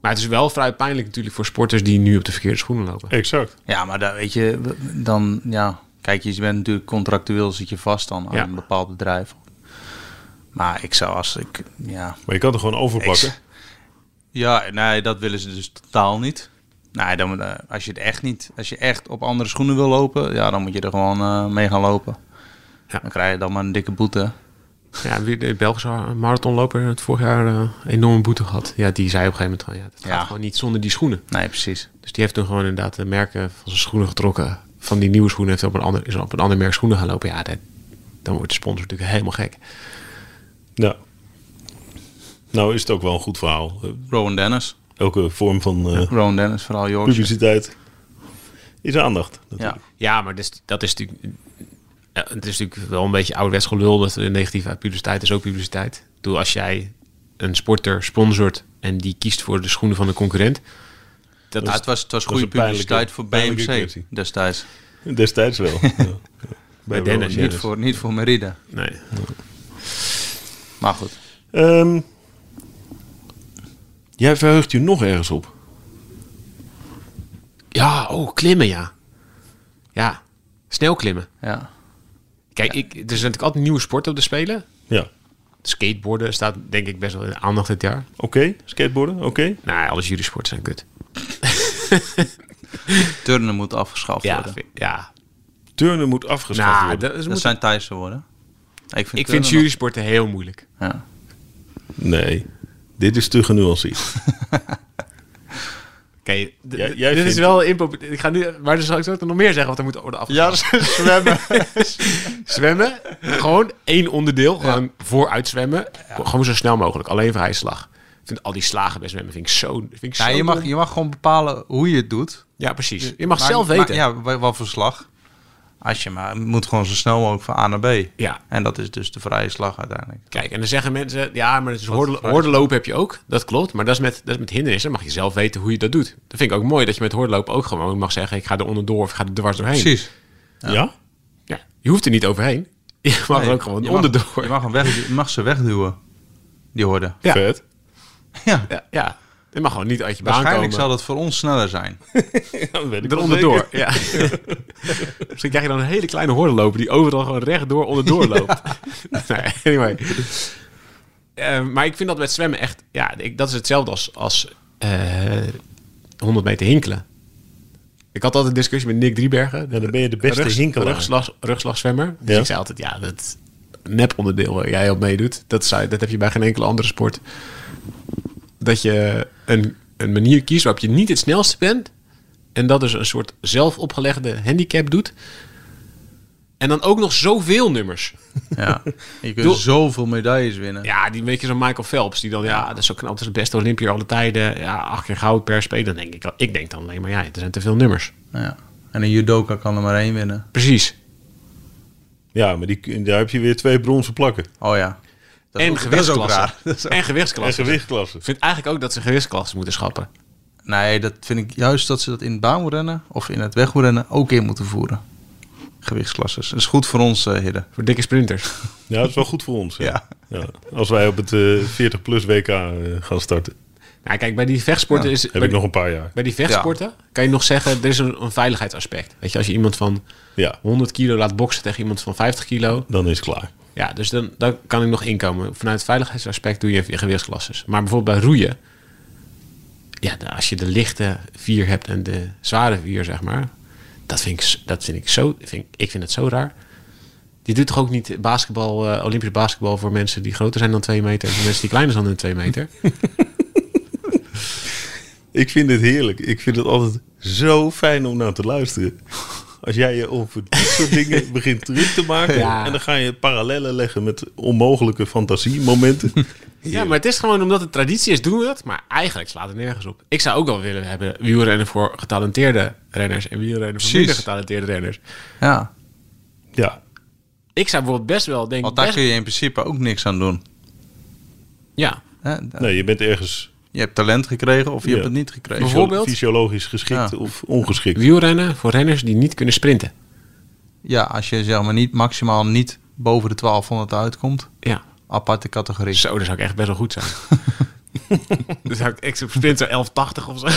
S3: Maar het is wel vrij pijnlijk natuurlijk voor sporters die nu op de verkeerde schoenen lopen.
S1: Exact.
S2: Ja, maar daar weet je, w- dan ja. Kijk, je bent natuurlijk contractueel zit je vast dan aan
S3: Ja.
S2: een bepaald bedrijf. Maar ik zou als ik, ja.
S1: Maar je kan er gewoon overpakken.
S2: Ik- Ja, nee, dat willen ze dus totaal niet. Nee, dan, moet, eh, als je het echt niet, als je echt op andere schoenen wil lopen, ja, dan moet je er gewoon eh, mee gaan lopen.
S3: Ja.
S2: Dan krijg je dan maar een dikke boete.
S3: Ja, wie- de Belgische marathonloper het vorig jaar eh, een enorme boete gehad. Ja, die zei op een gegeven moment, van, ja, dat gaat
S2: Ja.
S3: gewoon niet zonder die schoenen.
S2: Nee, precies.
S3: Dus die heeft toen gewoon inderdaad de merken van zijn schoenen getrokken. Van die nieuwe schoenen heeft hij op een ander, is op een ander merk schoenen gaan lopen. Ja, dat- dan wordt de sponsor natuurlijk helemaal gek.
S1: Ja. Nou is het ook wel een goed verhaal. Eh,
S2: Rowan Dennis.
S1: Elke vorm van eh,
S2: Rowan Dennis, vooral Yorkshire.
S1: publiciteit is aandacht.
S2: Ja.
S1: natuurlijk.
S3: Ja, maar dus, dat is natuurlijk... ja, het is natuurlijk wel een beetje ouderwets gelul dat eh, negatieve publiciteit is ook publiciteit. Doe als jij een sporter sponsort en die kiest voor de schoenen van de concurrent. Dus Dat
S2: Ja,
S3: is,
S2: Ah, het was, het was
S1: was
S2: goede
S1: een pijnlijke-
S2: publiciteit voor
S1: pijnlijke
S2: BMC
S1: kwestie.
S2: destijds.
S1: Destijds
S2: *laughs*
S1: wel. ja. Ja.
S3: Bij Dennis,
S1: Rowan
S3: ja.
S2: Niet voor, niet voor Merida.
S3: nee.
S2: Maar goed.
S1: Ehm, jij verheugt je nog ergens op.
S3: Ja, oh, klimmen ja. Ja, snel klimmen.
S2: Ja.
S3: Kijk, ik, er zijn natuurlijk altijd nieuwe sporten op de spelen.
S1: Ja.
S3: Skateboarden staat denk ik best wel in de aandacht dit jaar.
S1: Oké, skateboarden, oké.
S3: Nou, ja, alle jurysporten zijn kut.
S2: Turnen moet afgeschaft worden.
S3: vind- ja.
S1: Turnen moet afgeschaft
S3: Nou,
S1: worden.
S3: dat is-
S2: Dat
S3: moet-
S2: zijn Thaise woorden. Ik vind,
S3: ik vind
S2: turnen
S3: jurysporten heel moeilijk.
S2: nog- Ja.
S1: Nee, dit is te genuanceerd.
S3: Oké, d- d-
S1: Jij-
S3: dit
S1: jij
S3: is
S1: vindt-
S3: wel impopulair. Ik ga nu, maar dan zal ik zo nog meer zeggen wat er moet worden afgeschaft.
S2: zwemmen.
S3: Zwemmen, gewoon één onderdeel, gewoon vooruit zwemmen. Gewoon zo snel mogelijk, alleen vrije slag. Ik vind al die slagen bij zwemmen vind ik zo... Vind ik
S2: *laughs* Ja,
S3: zo
S2: je, mag,
S3: dom.
S2: je mag gewoon bepalen hoe je het doet.
S3: ja, precies. Je mag
S2: Maar-
S3: zelf
S2: maar-
S3: weten. ja.
S2: ja, wa- wat voor slag. Als je maar het moet gewoon zo snel mogelijk van A naar B. En dat is dus de vrije slag uiteindelijk.
S3: Kijk, en dan zeggen mensen, ja, maar het is hoorde,
S2: vraag-
S3: hoordelopen heb je ook. Dat klopt, maar dat is, met, dat is met hindernissen. Dan mag je zelf weten hoe je dat doet. Dat vind ik ook mooi, dat je met hoordelopen ook gewoon mag zeggen... ik ga er onderdoor of ik ga er dwars doorheen.
S2: Precies.
S1: Ja?
S3: Ja, je hoeft er niet overheen. *laughs* Je mag er ook gewoon
S2: je mag-
S3: onderdoor.
S2: Je mag, hem weg, je mag ze wegduwen. Die hoorden.
S3: Ja.
S1: Vet.
S2: Ja.
S3: ja, ja, je mag gewoon niet uit je baan komen.
S2: Waarschijnlijk zal dat voor ons sneller zijn.
S1: Ja, weet ik
S3: er
S1: wel
S3: onderdoor.
S1: zeker.
S3: Ja.
S1: *laughs*
S3: Misschien krijg je dan een hele kleine hoordeloper... die overal gewoon rechtdoor onderdoor loopt. *laughs* nee, anyway. Eh, maar ik vind dat met zwemmen echt... Ja, ik, dat is hetzelfde als, als eh, 100 meter hinkelen. Ik had altijd een discussie met Nick Driebergen.
S1: Ja, dan ben je de beste
S3: Rugs-
S1: hinkelaar.
S3: Rugslag, rugslagzwemmer. Dus
S1: Ja.
S3: ik zei altijd, ja, dat neponderdeel waar jij op meedoet... Dat, zou, dat heb je bij geen enkele andere sport. Dat je een, een manier kiest waarop je niet het snelste bent... en dat dus een soort zelf opgelegde handicap doet... En dan ook nog zoveel
S2: *laughs*
S3: nummers.
S2: Ja. Je kunt
S3: Doe-
S2: zoveel medailles winnen.
S3: Ja, die beetje zo'n Michael Phelps. Die dan, ja, dat is zo knap. Dat is de beste Olympier alle tijden. Ja, acht keer goud per speler. Dan denk ik, al- ik denk dan alleen maar, ja, er zijn te veel nummers.
S2: Ja. En een judoka kan er maar één winnen.
S3: Precies.
S1: Ja, maar die, daar heb je weer twee bronzen plakken.
S2: Oh ja. Dat
S3: en
S2: is ook- dat is ook
S3: gewichtsklassen.
S2: raar. *laughs* Dat is ook-
S3: En
S1: En
S3: gewichtsklassen.
S1: gewichtklassen.
S3: Ik vind eigenlijk ook dat ze gewichtsklassen moeten schappen.
S2: Nee, dat vind ik juist dat ze dat in het baanrennen of in het wegrennen ook in moeten voeren. Gewichtsklasses. Dat is goed voor ons, eh Hidde.
S3: Voor dikke
S1: *laughs*
S3: sprinters.
S1: Ja, dat is wel goed voor ons.
S2: Ja.
S1: Ja. Als wij op het eh, 40-plus WK eh, gaan starten.
S3: Nou, kijk, bij die vechtsporten is...
S1: Heb
S3: bij,
S1: ik nog een paar jaar.
S3: bij die vechtsporten kan je nog zeggen, er is een, een veiligheidsaspect. Weet je, als je iemand van
S1: Ja,
S3: 100 kilo laat boksen tegen iemand van 50 kilo...
S1: dan is het klaar.
S3: Ja, dus dan, dan kan ik nog inkomen. Vanuit het veiligheidsaspect doe je je gewichtsklasses. Maar bijvoorbeeld bij roeien. Ja, de- als je de lichte vier hebt en de zware vier, zeg maar. Dat vind ik, s- dat vind ik zo. Vind, ik- ik vind het zo raar. Die doet toch ook niet basketbal, eh, Olympisch basketbal voor mensen die groter zijn dan 2 meter. En voor mensen die kleiner zijn dan 2 meter.
S1: Ik vind het heerlijk. Ik vind het altijd zo fijn om naar te luisteren. Als jij je over dit
S3: *laughs*
S1: soort dingen begint terug te maken.
S3: Ja.
S1: En dan ga je parallellen leggen met onmogelijke fantasiemomenten.
S3: Ja, maar het is gewoon omdat het traditie is, doen we dat. Maar eigenlijk slaat het nergens op. Ik zou ook wel willen hebben wielrennen voor getalenteerde renners. En wielrennen voor
S2: Precies.
S3: minder getalenteerde renners.
S2: Ja.
S1: ja,
S3: Ik zou bijvoorbeeld best wel denken...
S2: Want daar
S3: best-
S2: kun je in principe ook niks aan doen.
S3: Ja,
S2: Hè, da-
S1: nee, je bent ergens
S2: Je hebt talent gekregen of je
S1: Ja.
S2: hebt het niet gekregen.
S3: Bijvoorbeeld-
S1: fysio- fysiologisch geschikt
S2: Ja.
S1: of ongeschikt.
S3: wielrennen voor renners die niet kunnen sprinten.
S2: Ja, als je zeg maar niet maximaal niet boven de 1200 uitkomt.
S3: Ja.
S2: Aparte categorie.
S3: Zo, daar zou ik echt best wel goed
S2: *laughs*
S3: zijn. dan zou ik, ik sprint zo 1180 of zo.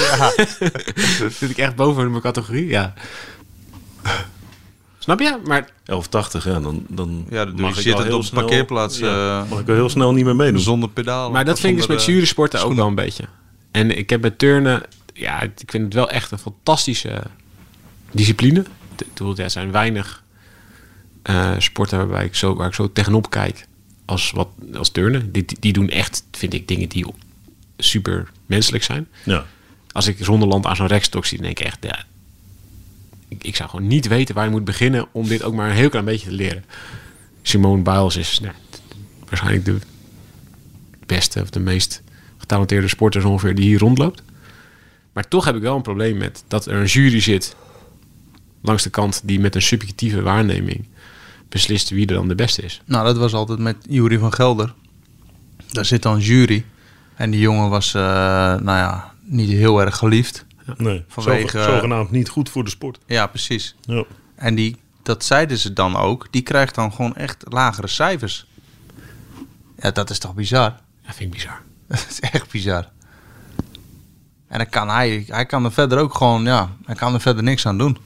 S3: *laughs* Zit ik echt boven in mijn categorie? Ja. Snap je? Maar
S1: 1180, ja, dan, dan
S2: Ja, dan doe
S1: mag
S2: je
S1: ik
S2: zittend
S1: al heel
S2: op een
S1: snel-
S2: parkeerplaats,
S1: ja,
S2: eh,
S1: mag ik al heel snel niet meer meedoen.
S2: Zonder pedalen.
S3: Maar dat
S2: of
S3: vind ik dus
S2: zonder,
S3: met
S2: eh,
S3: zure sporten ook wel een beetje. En ik heb bij turnen, ja, ik vind het wel echt een fantastische discipline. T- Ik bedoel, er zijn weinig eh, sporten waarbij ik zo, waar ik zo tegenop kijk als, wat, als turnen. Die, die- die doen echt, vind ik, dingen die super menselijk zijn.
S1: Ja.
S3: Als ik zonder land aan zo'n rekstok zie, dan denk ik echt, ja, ik, ik zou gewoon niet weten waar je moet beginnen om dit ook maar een heel klein beetje te leren. Simone Biles is nou, t- t- waarschijnlijk de beste of de meest getalenteerde sporter ongeveer die hier rondloopt. Maar toch heb ik wel een probleem met dat er een jury zit langs de kant die met een subjectieve waarneming beslist wie er dan de beste is.
S2: Nou, dat was altijd met Jury van Gelder. Daar zit dan een jury. En die jongen was, eh, nou ja, niet heel erg geliefd.
S1: Nee,
S2: Vanwege-
S1: zoge- zogenaamd niet goed voor de sport.
S2: Ja, precies.
S1: Ja.
S2: En die, dat zeiden ze dan ook. Die krijgt dan gewoon echt lagere cijfers. Ja, dat is toch bizar? *laughs*
S3: Dat vind ik bizar.
S2: Dat is echt bizar. En dan kan hij, hij kan er verder ook gewoon, ja, hij kan er verder niks aan doen.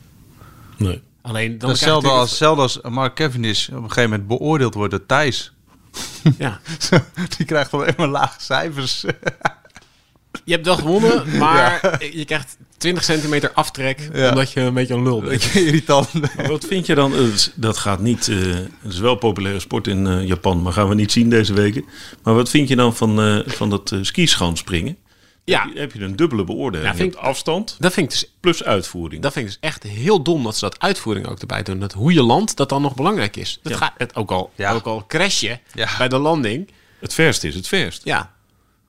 S1: Nee.
S3: Alleen dan
S2: Dat is hetzelfde als, hetzelfde als Mark Cavendish op een gegeven moment beoordeeld wordt door Thijs. *laughs*
S3: *laughs* ja,
S2: Die krijgt wel helemaal lage cijfers.
S3: je hebt wel
S2: *laughs*
S3: gewonnen, maar je krijgt 20 centimeter aftrek
S2: Ja.
S3: omdat je een beetje een lul bent.
S2: *laughs* Beetje Irritant.
S1: Maar wat vind je dan? eh, Dat gaat niet. eh, het is wel een populaire sport in eh, Japan, maar gaan we niet zien deze weken. Maar wat vind je dan van, eh, van dat eh skischanspringen?
S3: Ja,
S1: Heb je een dubbele beoordeling?
S3: Ja, vind ik-
S1: Je hebt afstand
S3: dat vind ik dus
S1: plus uitvoering.
S3: Dat vind ik dus echt heel dom dat ze dat uitvoering ook erbij doen. Dat hoe je landt, dat dan nog belangrijk is. Dat gaat het ook al,
S2: Ja.
S3: ook al crash je
S2: Ja.
S3: bij de landing.
S1: Het verst is het verst.
S3: Ja.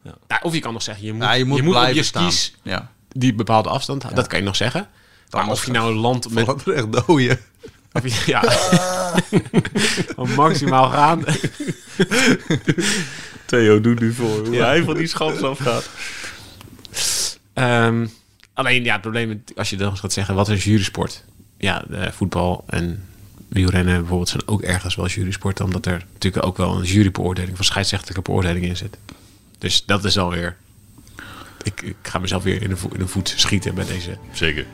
S3: Nou, of je kan nog zeggen, je moet,
S2: Ja, je moet,
S3: je moet op
S2: blijven
S3: je
S2: staan.
S3: skis
S2: Ja.
S3: die bepaalde afstand houden. Dat kan je nog zeggen. maar
S2: nog
S3: of je nou landt met...
S2: Wat echt dooien.
S3: Of
S2: *laughs*
S3: je, ja. *laughs* Om maximaal gaan.
S1: Theo doet nu voor hoe hij van die schans *laughs* afgaat.
S3: Ehm, alleen ja, het probleem is, als je dan gaat zeggen, wat is jurysport? Ja, eh, voetbal en wielrennen bijvoorbeeld zijn ook ergens wel jurysport, omdat er natuurlijk ook wel een jurybeoordeling, van scheidsrechtelijke beoordeling in zit. Dus dat is alweer. Ik, ik ga mezelf weer in de, vo- in de voet schieten bij deze.
S1: Zeker.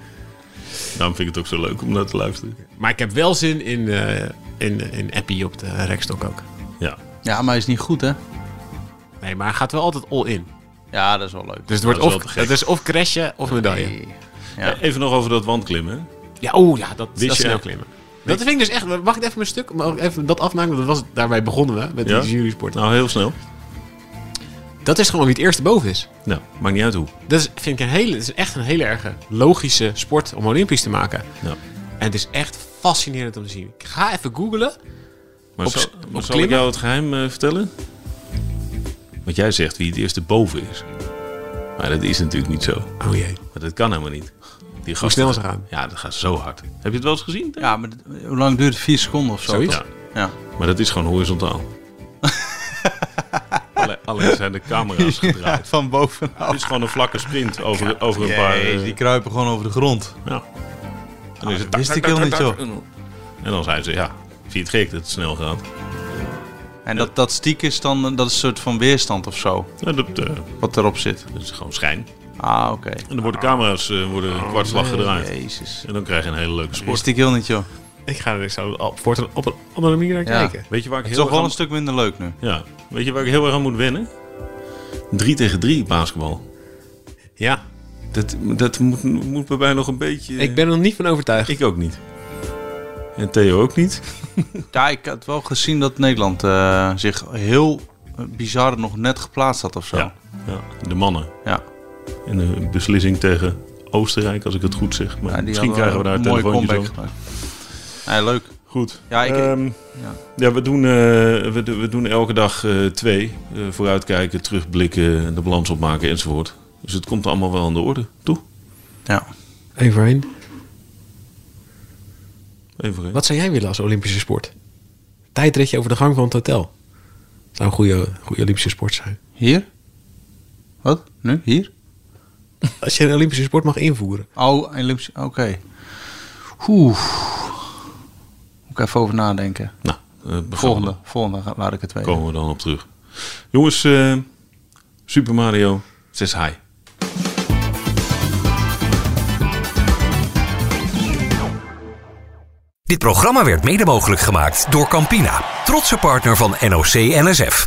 S1: Daarom vind ik het ook zo leuk om naar te luisteren.
S3: Maar ik heb wel zin in, eh, in, in Appie op de rekstok ook.
S1: Ja.
S2: Ja, maar is niet goed, hè?
S3: Nee, maar hij gaat wel altijd all in.
S2: Ja, dat is wel leuk.
S3: Dus het wordt
S1: Dat is
S3: of,
S1: wel te gek.
S3: het is of crashen of medaille.
S2: Ja.
S1: Even nog over dat wandklimmen. hè?
S3: Ja, oh ja, dat,
S1: Wist
S3: dat
S1: je-
S3: snel klimmen. Dat vind ik dus echt... Mag ik even mijn stuk mag ik even dat afmaken? Want dat was, daarbij begonnen we, met
S1: Ja?
S3: die jurysport.
S1: Nou, heel snel.
S3: Dat is gewoon wie het eerste boven is.
S1: Nou, maakt niet uit hoe.
S3: Dat is, vind ik een hele, dat is echt een hele erge logische sport om olympisch te maken.
S1: Nou,
S3: En het is echt fascinerend om te zien. Ik ga even googlen.
S1: maar
S3: Op
S1: zal,
S3: s-
S1: maar
S3: op
S1: zal ik
S3: klimmen?
S1: jou het geheim eh, vertellen? Want jij zegt wie het eerste boven is. Maar dat is natuurlijk niet zo.
S3: Oh jee.
S1: Maar dat kan helemaal niet. Die
S3: Hoe
S1: gasten-
S3: snel ze gaan.
S1: Ja, dat gaat zo hard. Heb je het wel eens gezien? Theo?
S2: Ja, maar d- hoe lang duurt het? Vier seconden of zo?
S3: Zoiets.
S2: toch? Ja.
S1: Maar dat is gewoon
S3: *laughs*
S1: horizontaal. Alle- Alleen zijn de camera's
S2: Ja,
S1: gedraaid.
S2: van
S1: Het
S2: bovenaf.
S1: is gewoon een vlakke sprint over, over een paar...
S2: Jezus,
S1: eh,
S2: die kruipen gewoon over de grond.
S1: ja. En dan is het
S2: dat wist ik heel niet, joh.
S1: En dan zijn ze, ja, vind je het gek dat het snel gaat?
S2: En dat, dat stiek is dan dat is een soort van weerstand of zo,
S1: Ja, dat, eh,
S2: wat erop zit.
S1: dat is gewoon schijn.
S2: Ah, oké.
S1: En dan worden camera's eh, worden een kwartslag gedraaid.
S2: Jezus.
S1: En dan krijg je een hele leuke
S2: Is
S1: sport.
S2: stiek heel niet, joh.
S3: Ik ga er zo op.
S4: Wordt op een andere manier naar
S2: Ja.
S4: kijken.
S1: Weet je waar ik
S2: Het is toch
S1: heel erg
S2: wel
S1: aan,
S2: een stuk minder leuk nu.
S1: ja, weet je waar ik heel erg aan moet wennen? 3 tegen 3 basketbal.
S4: Ja.
S1: Dat, dat moet, moet bij mij nog een beetje...
S4: Ik ben er nog niet van overtuigd.
S1: ik ook niet. En Theo ook niet.
S2: Ja, ik had wel gezien dat Nederland eh, zich heel eh, bizar nog net geplaatst had of zo.
S1: Ja. ja, de mannen.
S2: Ja.
S1: En een beslissing tegen Oostenrijk, als ik het goed zeg. Maar
S2: Ja, die
S1: misschien
S2: hadden
S1: krijgen we daar
S2: een
S1: een
S2: mooie
S1: telefoontje
S2: comeback
S1: over.
S2: gemaakt. Ja, leuk.
S1: Goed.
S2: Ja, ik-
S1: Ehm,
S2: ja.
S1: ja. we, doen, eh, we, do- we doen elke dag eh, twee. Eh, vooruitkijken, terugblikken, de balans opmaken enzovoort. Dus het komt allemaal wel aan de orde, toch?
S2: Ja.
S4: Even voorheen.
S1: Even voor één.
S4: Wat zou jij willen als Olympische sport? Tijdritje over de gang van het hotel. Zou een goede, goede Olympische sport zijn.
S2: Hier? Wat? Nu? Hier?
S4: Als je een Olympische sport mag invoeren.
S2: Oh, Olympische. Oké. Oeh. Moet ik even over nadenken.
S1: Nou, eh, we gaan-
S2: Volgende. Volgende ga- laat ik het weten.
S1: komen we dan op terug. Jongens, eh, Super Mario, zes high.
S8: Dit programma werd mede mogelijk gemaakt door Campina, trotse partner van NOC NSF.